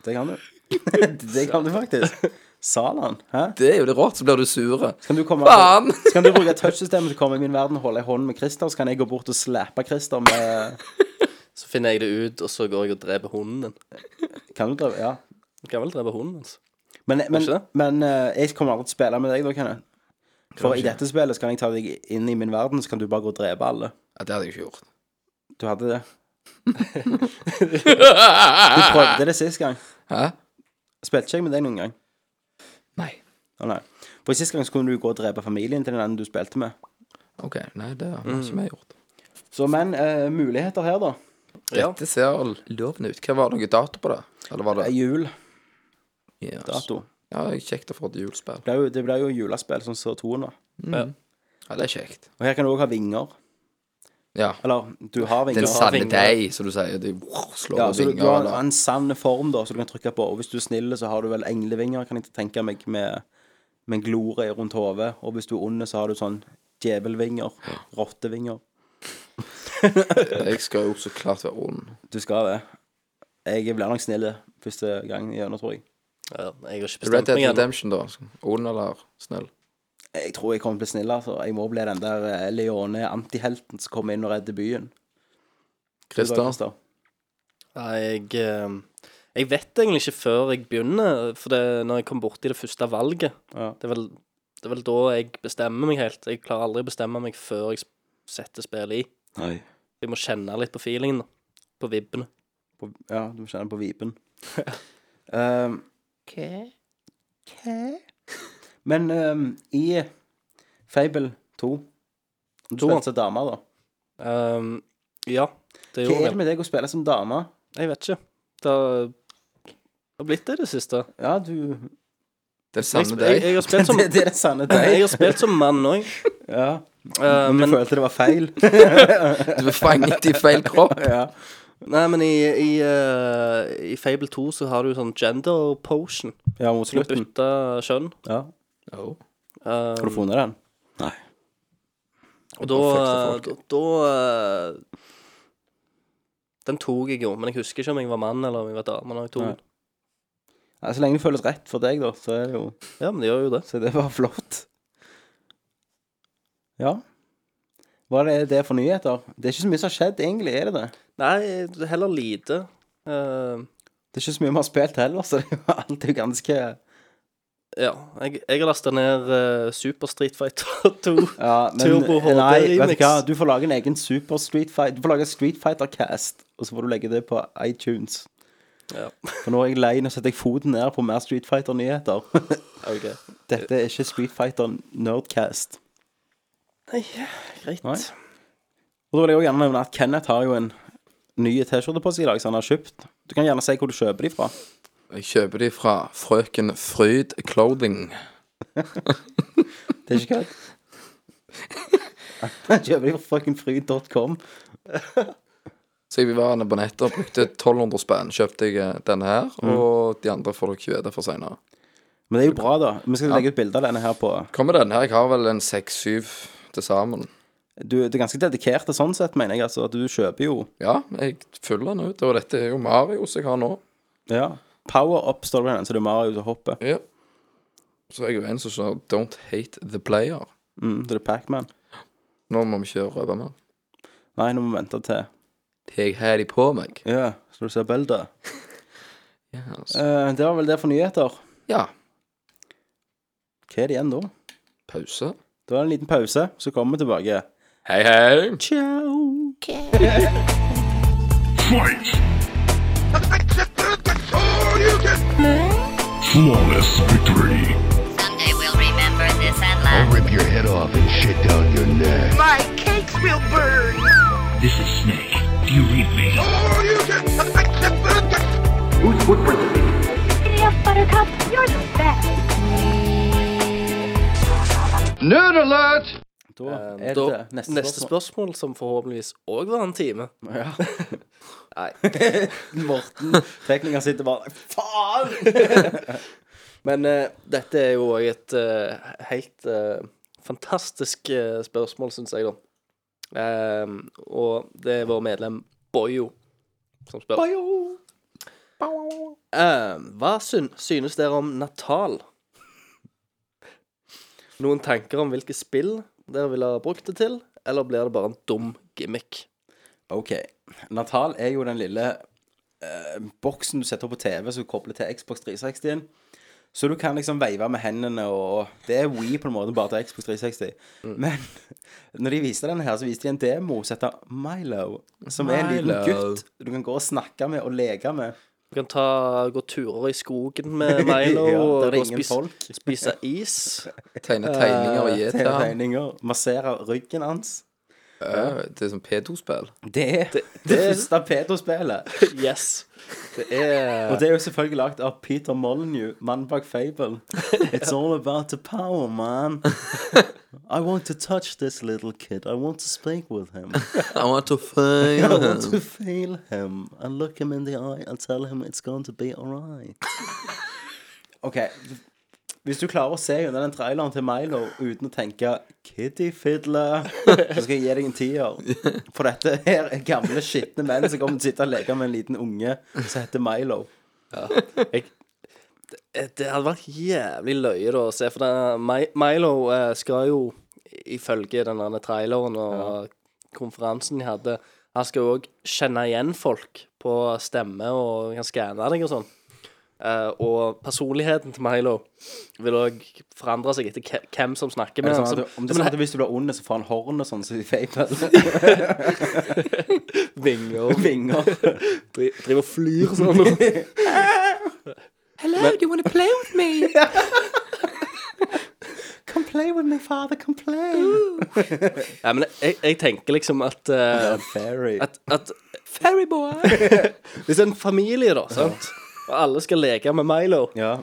Speaker 2: Det kan du. det kan du faktisk. Salan. Hæ?
Speaker 3: Det er jo det rått, så blir du sure.
Speaker 2: Så kan du komme
Speaker 3: Faen!
Speaker 2: Så kan du bruke touchsystemet til å komme i min verden og holde i hånden med Christer, så kan jeg gå bort og slappe Christer med
Speaker 4: Så finner jeg det ut, og så går jeg og dreper hunden din.
Speaker 2: Kan du drive? Ja.
Speaker 4: Du kan vel drepe hunden altså. hans?
Speaker 2: Men, men,
Speaker 4: ikke det?
Speaker 2: men eh, jeg kommer aldri til å spille med deg, da, Kenneth. For i dette spillet så kan jeg ta deg inn i min verden, så kan du bare gå og drepe alle.
Speaker 3: Ja, det hadde jeg ikke gjort.
Speaker 2: Du hadde det. Du
Speaker 3: Ah.
Speaker 2: prøvde det sist gang.
Speaker 3: Hæ?
Speaker 2: Spilte ikke jeg med deg noen gang?
Speaker 3: Nei.
Speaker 2: Å nei. For sist gang så kunne du gå og drepe familien til den du spilte med.
Speaker 3: OK. Nei, det har
Speaker 2: Mm.
Speaker 3: ikke vi gjort.
Speaker 2: Så men eh, muligheter her, da.
Speaker 4: Ja.
Speaker 3: Dette ser lovende ut. Hva var det noe dato på det? Eller var
Speaker 2: Det
Speaker 3: det
Speaker 2: er jul.
Speaker 3: yes.
Speaker 2: Dato.
Speaker 3: Ja, det er kjekt å få et julespill.
Speaker 2: Det blir jo, det blir jo julespill sånn som ser toen, da.
Speaker 3: Ja, det er kjekt.
Speaker 2: Og her kan du òg ha vinger.
Speaker 3: Ja.
Speaker 2: Eller, du har vinger.
Speaker 3: Den sanne
Speaker 4: vinger.
Speaker 3: deg, som du sier. De slår
Speaker 2: Ja,
Speaker 3: over
Speaker 2: så du, du
Speaker 3: vinger.
Speaker 2: har
Speaker 3: eller-
Speaker 2: en sann form da, som du kan trykke på. Og hvis du er snill, så har du vel englevinger, kan jeg ikke tenke meg, med, med en glorie rundt hodet. Og hvis du er ond, så har du sånn djevelvinger. Rottevinger.
Speaker 3: Jeg skal jo så klart være ond.
Speaker 2: Du skal det. Jeg blir nok snill første gang gjennom, tror jeg.
Speaker 4: Ja, jeg har ikke
Speaker 3: Red
Speaker 4: bestemt
Speaker 3: Dead
Speaker 4: meg ennå.
Speaker 3: Redemption, da. Ond eller snill?
Speaker 2: Jeg tror jeg kommer til å bli snill, altså. Jeg må bli den der eh, Leone, antihelten som kommer inn og redder byen. Du da,
Speaker 3: Christer?
Speaker 2: Christer?
Speaker 4: Nei, Jeg, eh, jeg vet egentlig ikke før jeg begynner, for det, når jeg kom borti det første valget
Speaker 2: Ja.
Speaker 4: det, er vel, det er vel da jeg bestemmer meg helt. Jeg klarer aldri å bestemme meg før jeg setter spillet i.
Speaker 1: Nei.
Speaker 4: Jeg må kjenne litt på feelingen, da. På vibbene.
Speaker 2: På, ja, du må kjenne på vipen. um, Hva? Men um, i Fable 2 Du
Speaker 4: Toeren.
Speaker 2: spilte som dame, da.
Speaker 4: Ehm, ja, det
Speaker 2: Hva
Speaker 4: gjorde
Speaker 2: er det
Speaker 4: jeg.
Speaker 2: med deg å spille som dame?
Speaker 4: Jeg vet ikke. Det har det har blitt det i det siste.
Speaker 2: Ja, du
Speaker 3: Den
Speaker 4: Jeg,
Speaker 3: sanne
Speaker 4: jeg,
Speaker 3: deg?
Speaker 4: jeg har spilt som,
Speaker 2: det, det er det sanne
Speaker 4: jeg
Speaker 2: deg. Eh,
Speaker 4: har spilt som mann òg.
Speaker 2: Ja, du
Speaker 4: men
Speaker 2: følte det var feil.
Speaker 3: Du er fanget i feil kropp?
Speaker 2: ja.
Speaker 4: Nei, men i, i, eh, i Fable 2 så har du sånn gender potion.
Speaker 2: ja, mot
Speaker 4: Du
Speaker 2: slutten.
Speaker 4: bytter kjønn.
Speaker 2: Ja.
Speaker 3: Jo.
Speaker 4: eh,
Speaker 2: Har du funnet den?
Speaker 4: og Um, da, da, da eh, Den tok jeg jo, men jeg husker ikke om jeg var mann eller om jeg var dame. Når jeg tok.
Speaker 2: Nei.
Speaker 4: den.
Speaker 2: Ja, så lenge det føles rett for deg, da, så er det jo
Speaker 4: Ja, men det gjør jo det.
Speaker 2: Så det var flott. Ja. Hva er det, det for nyheter? Det er ikke så mye som har skjedd, egentlig. er det det?
Speaker 4: Nei, det er heller lite. Eh,
Speaker 2: Det er ikke så mye vi har spilt heller, så det er jo alltid ganske
Speaker 4: ja. Jeg, jeg har lasta ned eh, Super Street Fighter 2.
Speaker 2: ja, men, eh,
Speaker 4: Turbo HD
Speaker 2: Nei, vet
Speaker 4: Remix.
Speaker 2: du hva? Du får lage en egen Super Street Fight Du får lage Street Fighter Cast, og så får du legge det på iTunes.
Speaker 4: Ja.
Speaker 2: For nå er jeg lei, nå setter jeg foten ned på mer Street Fighter-nyheter.
Speaker 4: Ok.
Speaker 2: Dette er ikke Street Fighter Nerdcast.
Speaker 4: Nei, greit.
Speaker 2: Nei. Og da vil jeg også gjerne nevne at Kenneth har jo en ny T-skjorte på seg i dag, som han har kjøpt. Du kan gjerne si hvor du kjøper de fra.
Speaker 3: Jeg kjøper de fra Frøken Fryd Clothing.
Speaker 2: Det er ikke kødd. Han Kjøper de fra fuckingfryd.com.
Speaker 3: Så jeg var på nettet og brukte 1200 spenn. Kjøpte jeg eh, denne her,
Speaker 2: Mm.
Speaker 3: og de andre får dere vite for seinere.
Speaker 2: Men det er jo bra, da. Vi skal legge ut bilde av denne her på
Speaker 3: Kommer denne her? Jeg har vel en seks-syv til sammen.
Speaker 2: Du, du er ganske dedikert til sånn sett, mener jeg. Altså, at du kjøper jo
Speaker 3: Ja, jeg fyller den ut, og dette er jo Marios jeg har nå.
Speaker 2: Ja. Power up står det på den, så det er Mario som hopper.
Speaker 3: Ja. Så er jeg jo en som sier 'Don't hate the player'.
Speaker 2: Mm, det er Pac-Man.
Speaker 3: Nå må vi ikke røpe mer.
Speaker 2: Nei, nå må vi vente til
Speaker 3: Jeg har de på meg.
Speaker 2: Ja, skal du se Belda?
Speaker 3: Yes.
Speaker 2: Eh, det var vel det for nyheter.
Speaker 3: Ja.
Speaker 2: Hva er det igjen da?
Speaker 3: Pause.
Speaker 2: Det var en liten pause, så kommer vi tilbake.
Speaker 3: Hei, hei.
Speaker 2: Ciao.
Speaker 5: Fight! Flawless victory!
Speaker 6: Someday we'll remember this and
Speaker 7: I'll
Speaker 6: laugh.
Speaker 7: rip your head off and shit down your neck.
Speaker 8: My cakes will burn.
Speaker 5: This is Snake. Do you read me?
Speaker 6: Idiot Buttercup, you're the best.
Speaker 7: Nerd alert!
Speaker 2: Eh, Da
Speaker 4: Um,
Speaker 2: er det
Speaker 4: da,
Speaker 2: det. neste,
Speaker 4: neste spørsmål, som forhåpentligvis òg var en time.
Speaker 2: Morten, teknikeren sitter bare Faen!
Speaker 4: Men eh, dette er jo òg et eh, helt eh, fantastisk eh, spørsmål, syns jeg, da. Ehm, og det er vår medlem Boyo som spør. Ehm, hva syn synes dere om Natal? Noen tanker om hvilke spill dere ville ha brukt det til, eller blir det bare en dum gimmick?
Speaker 2: OK. Natal er jo den lille eh, boksen du setter opp på TV som kobler til Xbox 360-en. Så du kan liksom veive med hendene og Det er We på en måte, bare til Xbox 360. Men når de viste den her, så viste de en demo som heter Milo. Som er en liten
Speaker 3: Milo.
Speaker 2: gutt du kan gå og snakke med og leke med.
Speaker 4: Du kan ta, gå turer i skogen med Milo
Speaker 2: Ja, der
Speaker 4: og gå
Speaker 2: er
Speaker 4: og
Speaker 2: ingen
Speaker 4: spise,
Speaker 2: folk.
Speaker 4: spise is.
Speaker 3: Tegne tegninger og gi til
Speaker 2: Tegne
Speaker 3: ham.
Speaker 2: eh, tegninger. Massere ryggen hans.
Speaker 3: Ja, Det er sånn P2-spill.
Speaker 2: Det er det, første pedospillet.
Speaker 4: Yes. Det er
Speaker 2: Og det er jo selvfølgelig lagt av Peter Molyneux, mannen bak Fable. It's all about the power, man. I want to touch this little kid. I want to speak with him.
Speaker 3: I want to
Speaker 2: I want to feel him and look him in the eye and tell him it's going to be alright. OK. Hvis du klarer å se under den traileren til Milo uten å tenke 'Kitty Fiddler', så skal jeg gi deg en tier. For dette her er gamle, skitne menn som kommer til å sitte og leke med en liten unge som heter Milo.
Speaker 4: Det hadde vært jævlig løye da, å se, for det, Mi- Milo eh, skal jo, ifølge den der traileren og konferansen de hadde, han skal jo òg kjenne igjen folk på stemme og kan skanne deg og sånn. Eh, og personligheten til Milo vil òg forandre seg etter ke- hvem som snakker
Speaker 2: Er
Speaker 4: med
Speaker 2: det
Speaker 4: ham.
Speaker 2: sånn at, du- om det er sånn at hvis du blir ond, så får han horn og sånn som i Fable?
Speaker 4: vinger og
Speaker 2: Vinger.
Speaker 4: dri- driver og flyr sånn.
Speaker 3: Hello, do you want to play with me?
Speaker 2: Come play with me, father, come play.
Speaker 4: Ja, men jeg, jeg tenker liksom at eh,
Speaker 2: Ja, Fairy.
Speaker 4: at, at Hvis en familie, da, sant? og alle skal leke med Milo
Speaker 2: Ja.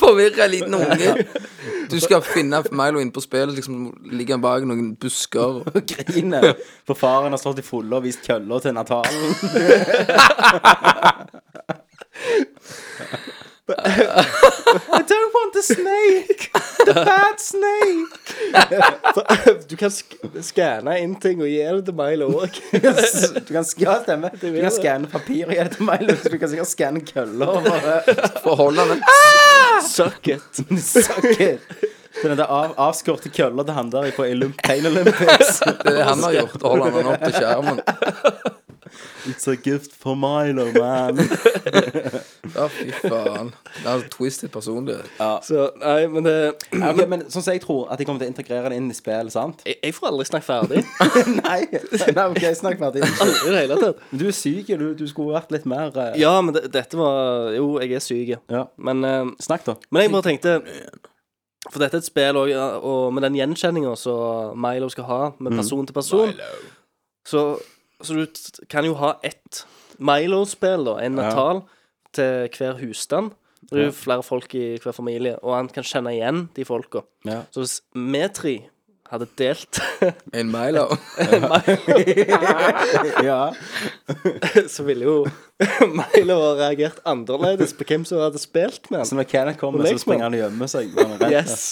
Speaker 3: Forvirra liten unge. Du skal finne Milo inne på spillet. Liksom ligger han bak noen busker.
Speaker 2: Griner. For faren har stått i fulle og vist køller til Natalen. I don't want the snake! The bad snake!
Speaker 4: eh, Du kan sk skanne inn ting og gi det til Milo òg.
Speaker 2: Du kan, sk- ja, stemmer. Du kan skanne papir i det til meg, Louise. du kan sikkert skanne køller. og bare-
Speaker 3: Forholdene.
Speaker 4: Suck it.
Speaker 2: Suck it! Den der av, avskårte køller til han der på Illum Pain Olympics.
Speaker 3: Det er det han har gjort. Å holde han opp til skjermen.
Speaker 2: It's a gift for Milo, man.
Speaker 3: Ja, fy faen. Det er en twisted personlighet.
Speaker 4: Så nei, men det
Speaker 2: Ja, ok, men sånn som jeg tror at jeg kommer til å integrere det inn i spillet, sant?
Speaker 4: Jeg, jeg får aldri snakke ferdig.
Speaker 2: Nei, nei ok, snakk ferdig.
Speaker 4: Aldri i det hele tatt.
Speaker 2: Men Du er syk, du, du skulle vært litt mer eh,
Speaker 4: Ja, men det, dette var Jo, jeg er syk, ja.
Speaker 2: ja.
Speaker 4: men eh,
Speaker 2: Snakk, da.
Speaker 4: Men jeg bare tenkte For dette er et spill, og, og med den gjenkjenninga som Milo skal ha, med person til person så, så du t- kan jo ha ett Milo-spill, da, en Natal, til hver husstand. Det er jo flere folk i hver familie, og han kan kjenne igjen de folka.
Speaker 2: Ja.
Speaker 4: Så hvis vi tre hadde delt,
Speaker 3: En Milo.
Speaker 2: Ja.
Speaker 4: så ville jo Milo ha reagert annerledes på hvem som hadde spilt med
Speaker 2: Så
Speaker 4: han.
Speaker 2: når Kenneth kommer,
Speaker 4: Og
Speaker 2: så
Speaker 4: lek med
Speaker 2: springer han og gjemmer seg. når han er redd.
Speaker 4: Yes.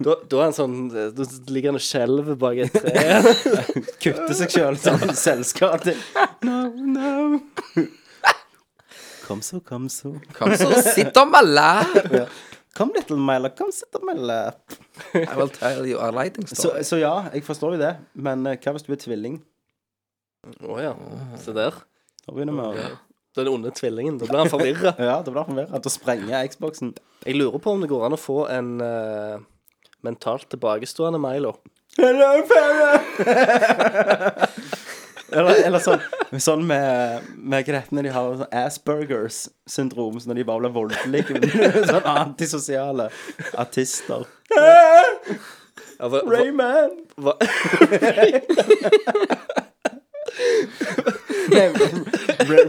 Speaker 4: Da, da er han sånn Da ligger han og skjelver bak et tre.
Speaker 2: Kutter seg sjøl sånn selvskading. No, no. Kom så, kom så.
Speaker 3: Kom så, sitt om alle!
Speaker 2: Kom, little Myla, kom sitt on my lap.
Speaker 3: I will tell you a lighting
Speaker 2: Så,
Speaker 3: story.
Speaker 2: så ja, jeg forstår jo det, men eh, hva hvis du er tvilling?
Speaker 4: Å ja. Se der.
Speaker 2: Da begynner vi å
Speaker 4: Den onde tvillingen. Da blir han forvirra.
Speaker 2: Ja, det blir forvirrende. Da sprenger jeg Xboxen.
Speaker 4: Jeg lurer på om det går an å få en eh, mentalt tilbakestående Milo.
Speaker 2: Hello, Farah! eller, eller sånn, sånn med, med hva det heter når de har sånn Aspergers syndrom, så når de bare blir voldelige. sånn antisosiale artister.
Speaker 4: Ja, hva, hva,
Speaker 2: Rayman!
Speaker 4: hva,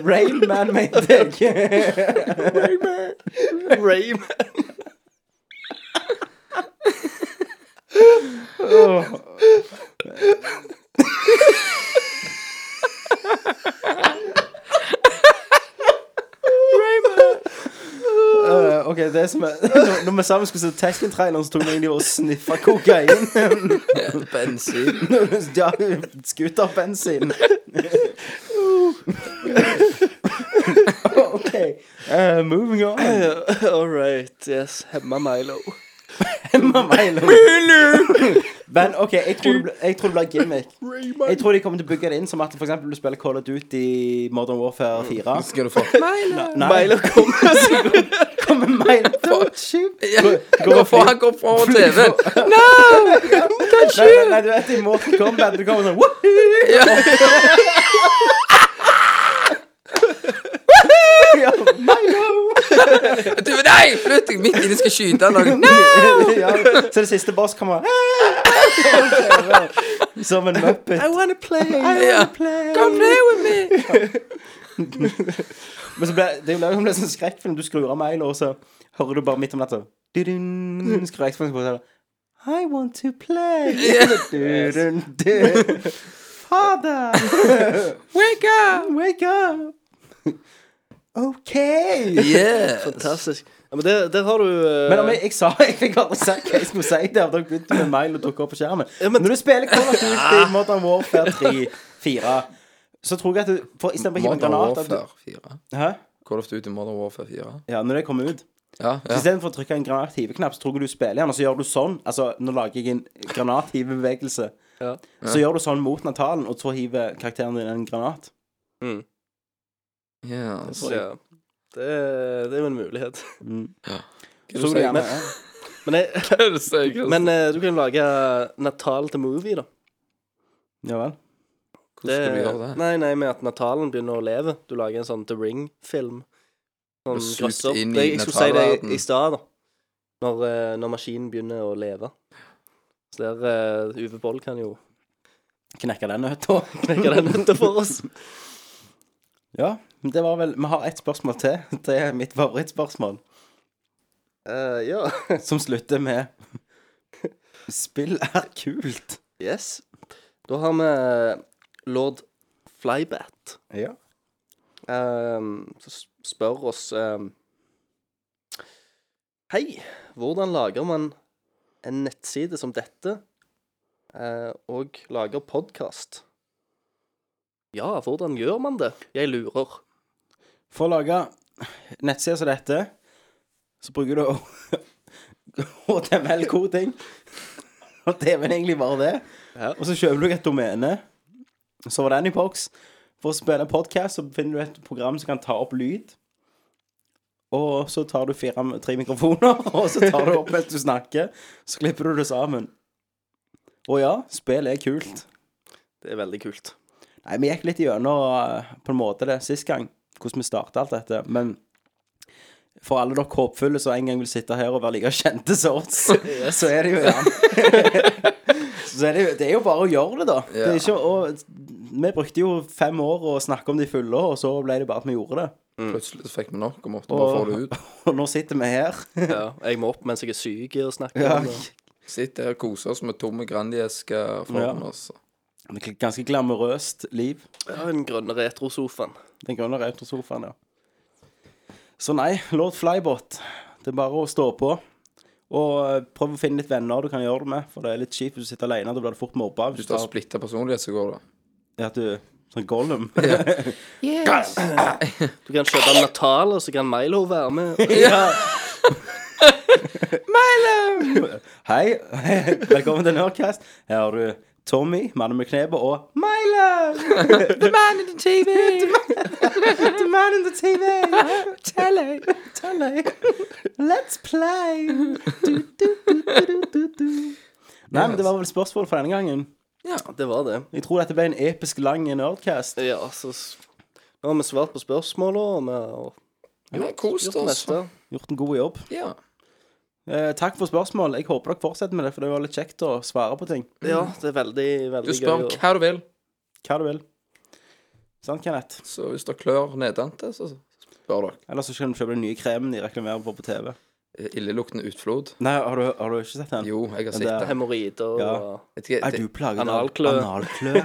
Speaker 2: Rayman, mente jeg.
Speaker 4: Rayman.
Speaker 2: Eh, ok, det som er Når- Når vi sammen skulle se Tekken-traileren, så tok vi egentlig og sniffa kokain.
Speaker 3: Bensin.
Speaker 2: ja, skuterbensin. ok, eh, moving on.
Speaker 4: All right. Yes. Hemma Milo.
Speaker 2: Men ok, jeg tror det ble- jeg tror det blir gimmick. Jeg tror de kommer til å bygge det inn som at for eksempel du spiller Call of Duty Modern Warfare 4.
Speaker 3: Skal du få
Speaker 2: Nei,
Speaker 4: Milo kommer og sier
Speaker 2: kommer Milo
Speaker 3: Gå for, han går foran TV-en.
Speaker 2: Nei, nei, nei, du vet i Mortal Kombat Du kommer sånn Woohoo! Ja, Milo!
Speaker 3: Du, nei, flytt deg midt inne, skal skyte noen. Nei!
Speaker 2: ja. Så det siste boss kommer Som en muppet I wanna play,
Speaker 3: Ja. Come play with me!
Speaker 2: Men så ble det ble jo en sånn skrekkfilm Du skrur av Milo og så hører du bare midt om natta du-dun, Skrur Xboxen på og så sånn, I want to play du-dun, du. Father
Speaker 3: Wake up!
Speaker 2: Wake up Ok
Speaker 3: Yeah!
Speaker 4: Fantastisk. Ja, men der, der har du eh,
Speaker 2: Men om jeg, jeg sa jeg fikk aldri sagt hva jeg skulle si der. Da begynte med mail og dukket opp på skjermen.
Speaker 4: men- Ah.
Speaker 2: Når du spiller Call of Duty Modern Warfare 3, 4, så tror jeg at du for, Istedenfor å hive en
Speaker 3: Modern
Speaker 2: granat at du,
Speaker 3: Warfare 4.
Speaker 2: Hæ?
Speaker 3: Call of Duty Modern Warfare 4.
Speaker 2: Ja, når det kommer ut.
Speaker 3: Ja,
Speaker 2: Så
Speaker 3: ja.
Speaker 2: Istedenfor å trykke en granathiveknapp, så tror jeg du spiller igjen, og så gjør du sånn. Altså, nå lager jeg en granathivebevegelse.
Speaker 4: Ja.
Speaker 2: Så gjør du sånn mot Natalen, og så hiver karakteren din en granat.
Speaker 3: Yes.
Speaker 4: ja. det, det er jo en mulighet.
Speaker 2: Mm. Så tror du gjerne
Speaker 4: Men, jeg, men eh, du kan lage Natal til movie, da.
Speaker 2: Ja vel.
Speaker 3: Hvordan skal du gjøre det?
Speaker 4: Nei, nei, med at Natalen begynner å leve. Du lager en sånn The Ring-film.
Speaker 3: Og
Speaker 4: Sånn
Speaker 3: suger
Speaker 4: grøsser.
Speaker 3: inn i
Speaker 4: Jeg, jeg skulle si det
Speaker 3: Natalverden.
Speaker 4: i- i stad, da. Når, eh, når maskinen begynner å leve. Så der eh, Uwe Boll kan jo
Speaker 2: Knekke den nøtta.
Speaker 4: knekke den ut for oss.
Speaker 2: Ja. men Det var vel Vi har ett spørsmål til. Det er mitt favorittspørsmål.
Speaker 4: Eh, ja.
Speaker 2: Som slutter med Spill er kult.
Speaker 4: Yes. Da har vi eh, lord Flybat.
Speaker 2: Ja.
Speaker 4: Ehm, så s- spør oss ehm, Hei, hvordan lager man en nettside som dette, eh, og lager podkast? Ja, hvordan gjør man det? Jeg lurer.
Speaker 2: For å lage nettsider som dette, så bruker du HTML-koding. Og det er vel egentlig bare det. Og så kjøper du et domene. Så var den i boks. For å spille podkast så finner du et program som kan ta opp lyd. Og så tar du fire, tre mikrofoner, og så tar du opp mens du snakker. Så klipper du det sammen. Og ja, spill er kult.
Speaker 4: Det er veldig kult.
Speaker 2: Nei, vi gikk litt gjennom eh, på en måte det sist gang, hvordan vi starta alt dette. Men for alle dere håpfulle som en gang vil sitte her og være like kjente som oss, så er det jo gjerne Så er det, jo, det er jo bare å gjøre det, da. Det er ikke, og, vi brukte jo fem år å snakke om de fulle, og så ble det bare at vi gjorde det.
Speaker 3: Plutselig så fikk vi nok og måtte bare få det ut.
Speaker 2: Og nå sitter vi her.
Speaker 4: Ja, jeg må opp mens jeg er syk og snakker
Speaker 2: Ja.
Speaker 4: om det.
Speaker 3: Sitt der og kose oss med tomme Grandiesker altså. foran oss.
Speaker 2: Ganske glamorøst liv.
Speaker 4: Ja, Den grønne retrosofaen.
Speaker 2: Den grønne retrosofaen, ja. Så nei, Lord Flybot. Det er bare å stå på. Og eh, prøv å finne litt venner du kan gjøre det med, for det er litt kjipt hvis du sitter alene. Da blir du fort mobba.
Speaker 3: Hvis
Speaker 2: Hvis
Speaker 3: du
Speaker 2: du
Speaker 3: har
Speaker 2: tar
Speaker 3: splitta personlighet, så går det.
Speaker 2: at du Sånn Gollum.
Speaker 4: Du kan kjøpe Natal, og så kan Milo være med.
Speaker 2: Hei, velkommen til Nerdcast. Her har du Tommy, mannen med knebet, og Milo! the man in the TV! the, man, the man in the TV! Telly! Telly! Let's play! Du, du, du, du, du, du. Nei, men det var vel spørsmål for denne gangen.
Speaker 4: Det var det.
Speaker 2: Jeg tror dette ble en episk lang Nerdcast.
Speaker 4: Ja, så s- Nå har vi svart på spørsmåla, og vi har
Speaker 3: Vi har kost
Speaker 4: gjort det
Speaker 3: oss.
Speaker 4: meste.
Speaker 2: Gjort en god jobb.
Speaker 3: Ja.
Speaker 2: Eh, takk for spørsmål. Jeg håper dere fortsetter med det, for det var litt kjekt å svare på ting.
Speaker 4: Ja, det er veldig,
Speaker 3: Du
Speaker 4: veldig gøy.
Speaker 3: spør om
Speaker 4: å-
Speaker 3: hva du vil,
Speaker 2: Hva du vil. Sant, Kenneth?
Speaker 3: så hvis det klør nedante, så spør dere.
Speaker 2: Eller så kan du kjøpe den nye kremen de reklamerer for på TV.
Speaker 3: Illeluktende utflod.
Speaker 2: Nei, har du, har du ikke sett den?
Speaker 3: Jo, jeg har
Speaker 2: det
Speaker 3: sett
Speaker 2: er-
Speaker 3: det.
Speaker 4: Hemoroider
Speaker 2: Ja.
Speaker 4: og
Speaker 3: Jeg vet ikke,
Speaker 2: Er
Speaker 3: det-
Speaker 2: du plaget av
Speaker 4: Analklø.
Speaker 2: analklø?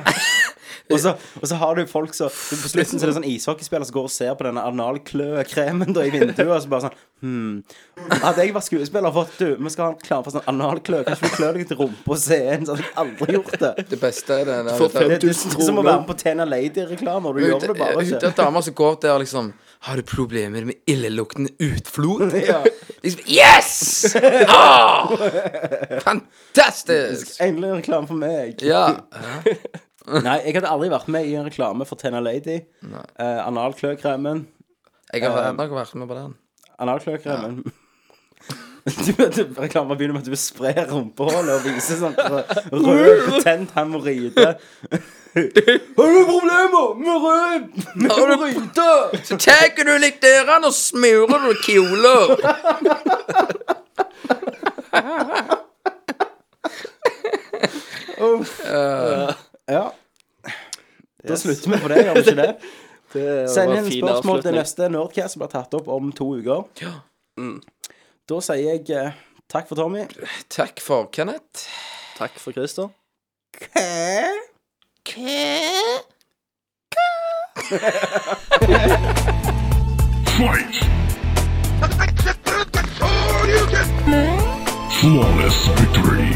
Speaker 2: og, så, og så har du folk som så På slutten så er det sånn ishockeyspiller som går og ser på denne analklø-kremen da i vinduet, og så bare sånn hmm. Hadde jeg vært skuespiller og fått Du, vi skal ha en reklame for sånn analklø, kanskje du klør deg til rumpa på scenen? Så hadde jeg aldri gjort det.
Speaker 3: Det beste er den
Speaker 4: får
Speaker 2: Det er-
Speaker 3: der
Speaker 2: det er som å være med på Tena Lady-reklame, og du gjør det bare
Speaker 3: Ute
Speaker 2: ikke.
Speaker 3: etter damer som går der liksom Har du problemer med illeluktende utflod? Liksom, yes! Ah! Fantastisk!
Speaker 2: Endelig en reklame for meg.
Speaker 3: Ja.
Speaker 2: Nei, jeg hadde aldri vært med i en reklame for Tena Lady. Eh, analklø-kremen.
Speaker 3: Jeg har nok vært med på den.
Speaker 2: Analkløkremen. Du, du, reklamen begynner med at du sprer rumpehullet og viser sånn så rød, betent hemoroide. Har du problemer med rød
Speaker 3: Når du puter, så tar du litt døren og smurer du kuler.
Speaker 2: Ja. Da slutter vi på det, gjør vi ikke det? Send
Speaker 4: var
Speaker 2: inn
Speaker 4: fin
Speaker 2: spørsmål til
Speaker 4: avslutning.
Speaker 2: neste Nerdcast som blir tatt opp om to uker. Mm. Da sier jeg eh, takk for Tommy.
Speaker 3: Takk for Kenneth.
Speaker 4: Takk for Christer.
Speaker 5: Fight! Flawless victory.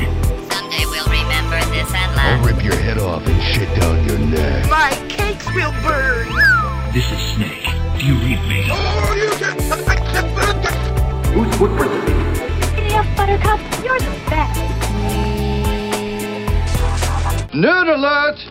Speaker 6: Someday we'll remember this and
Speaker 7: I'll
Speaker 6: laugh.
Speaker 7: rip your head off and shit down your neck.
Speaker 8: My cakes will burn.
Speaker 5: This is Snake. Do you read me?
Speaker 6: Idiot Buttercup, you're the best.
Speaker 7: Nerd alert!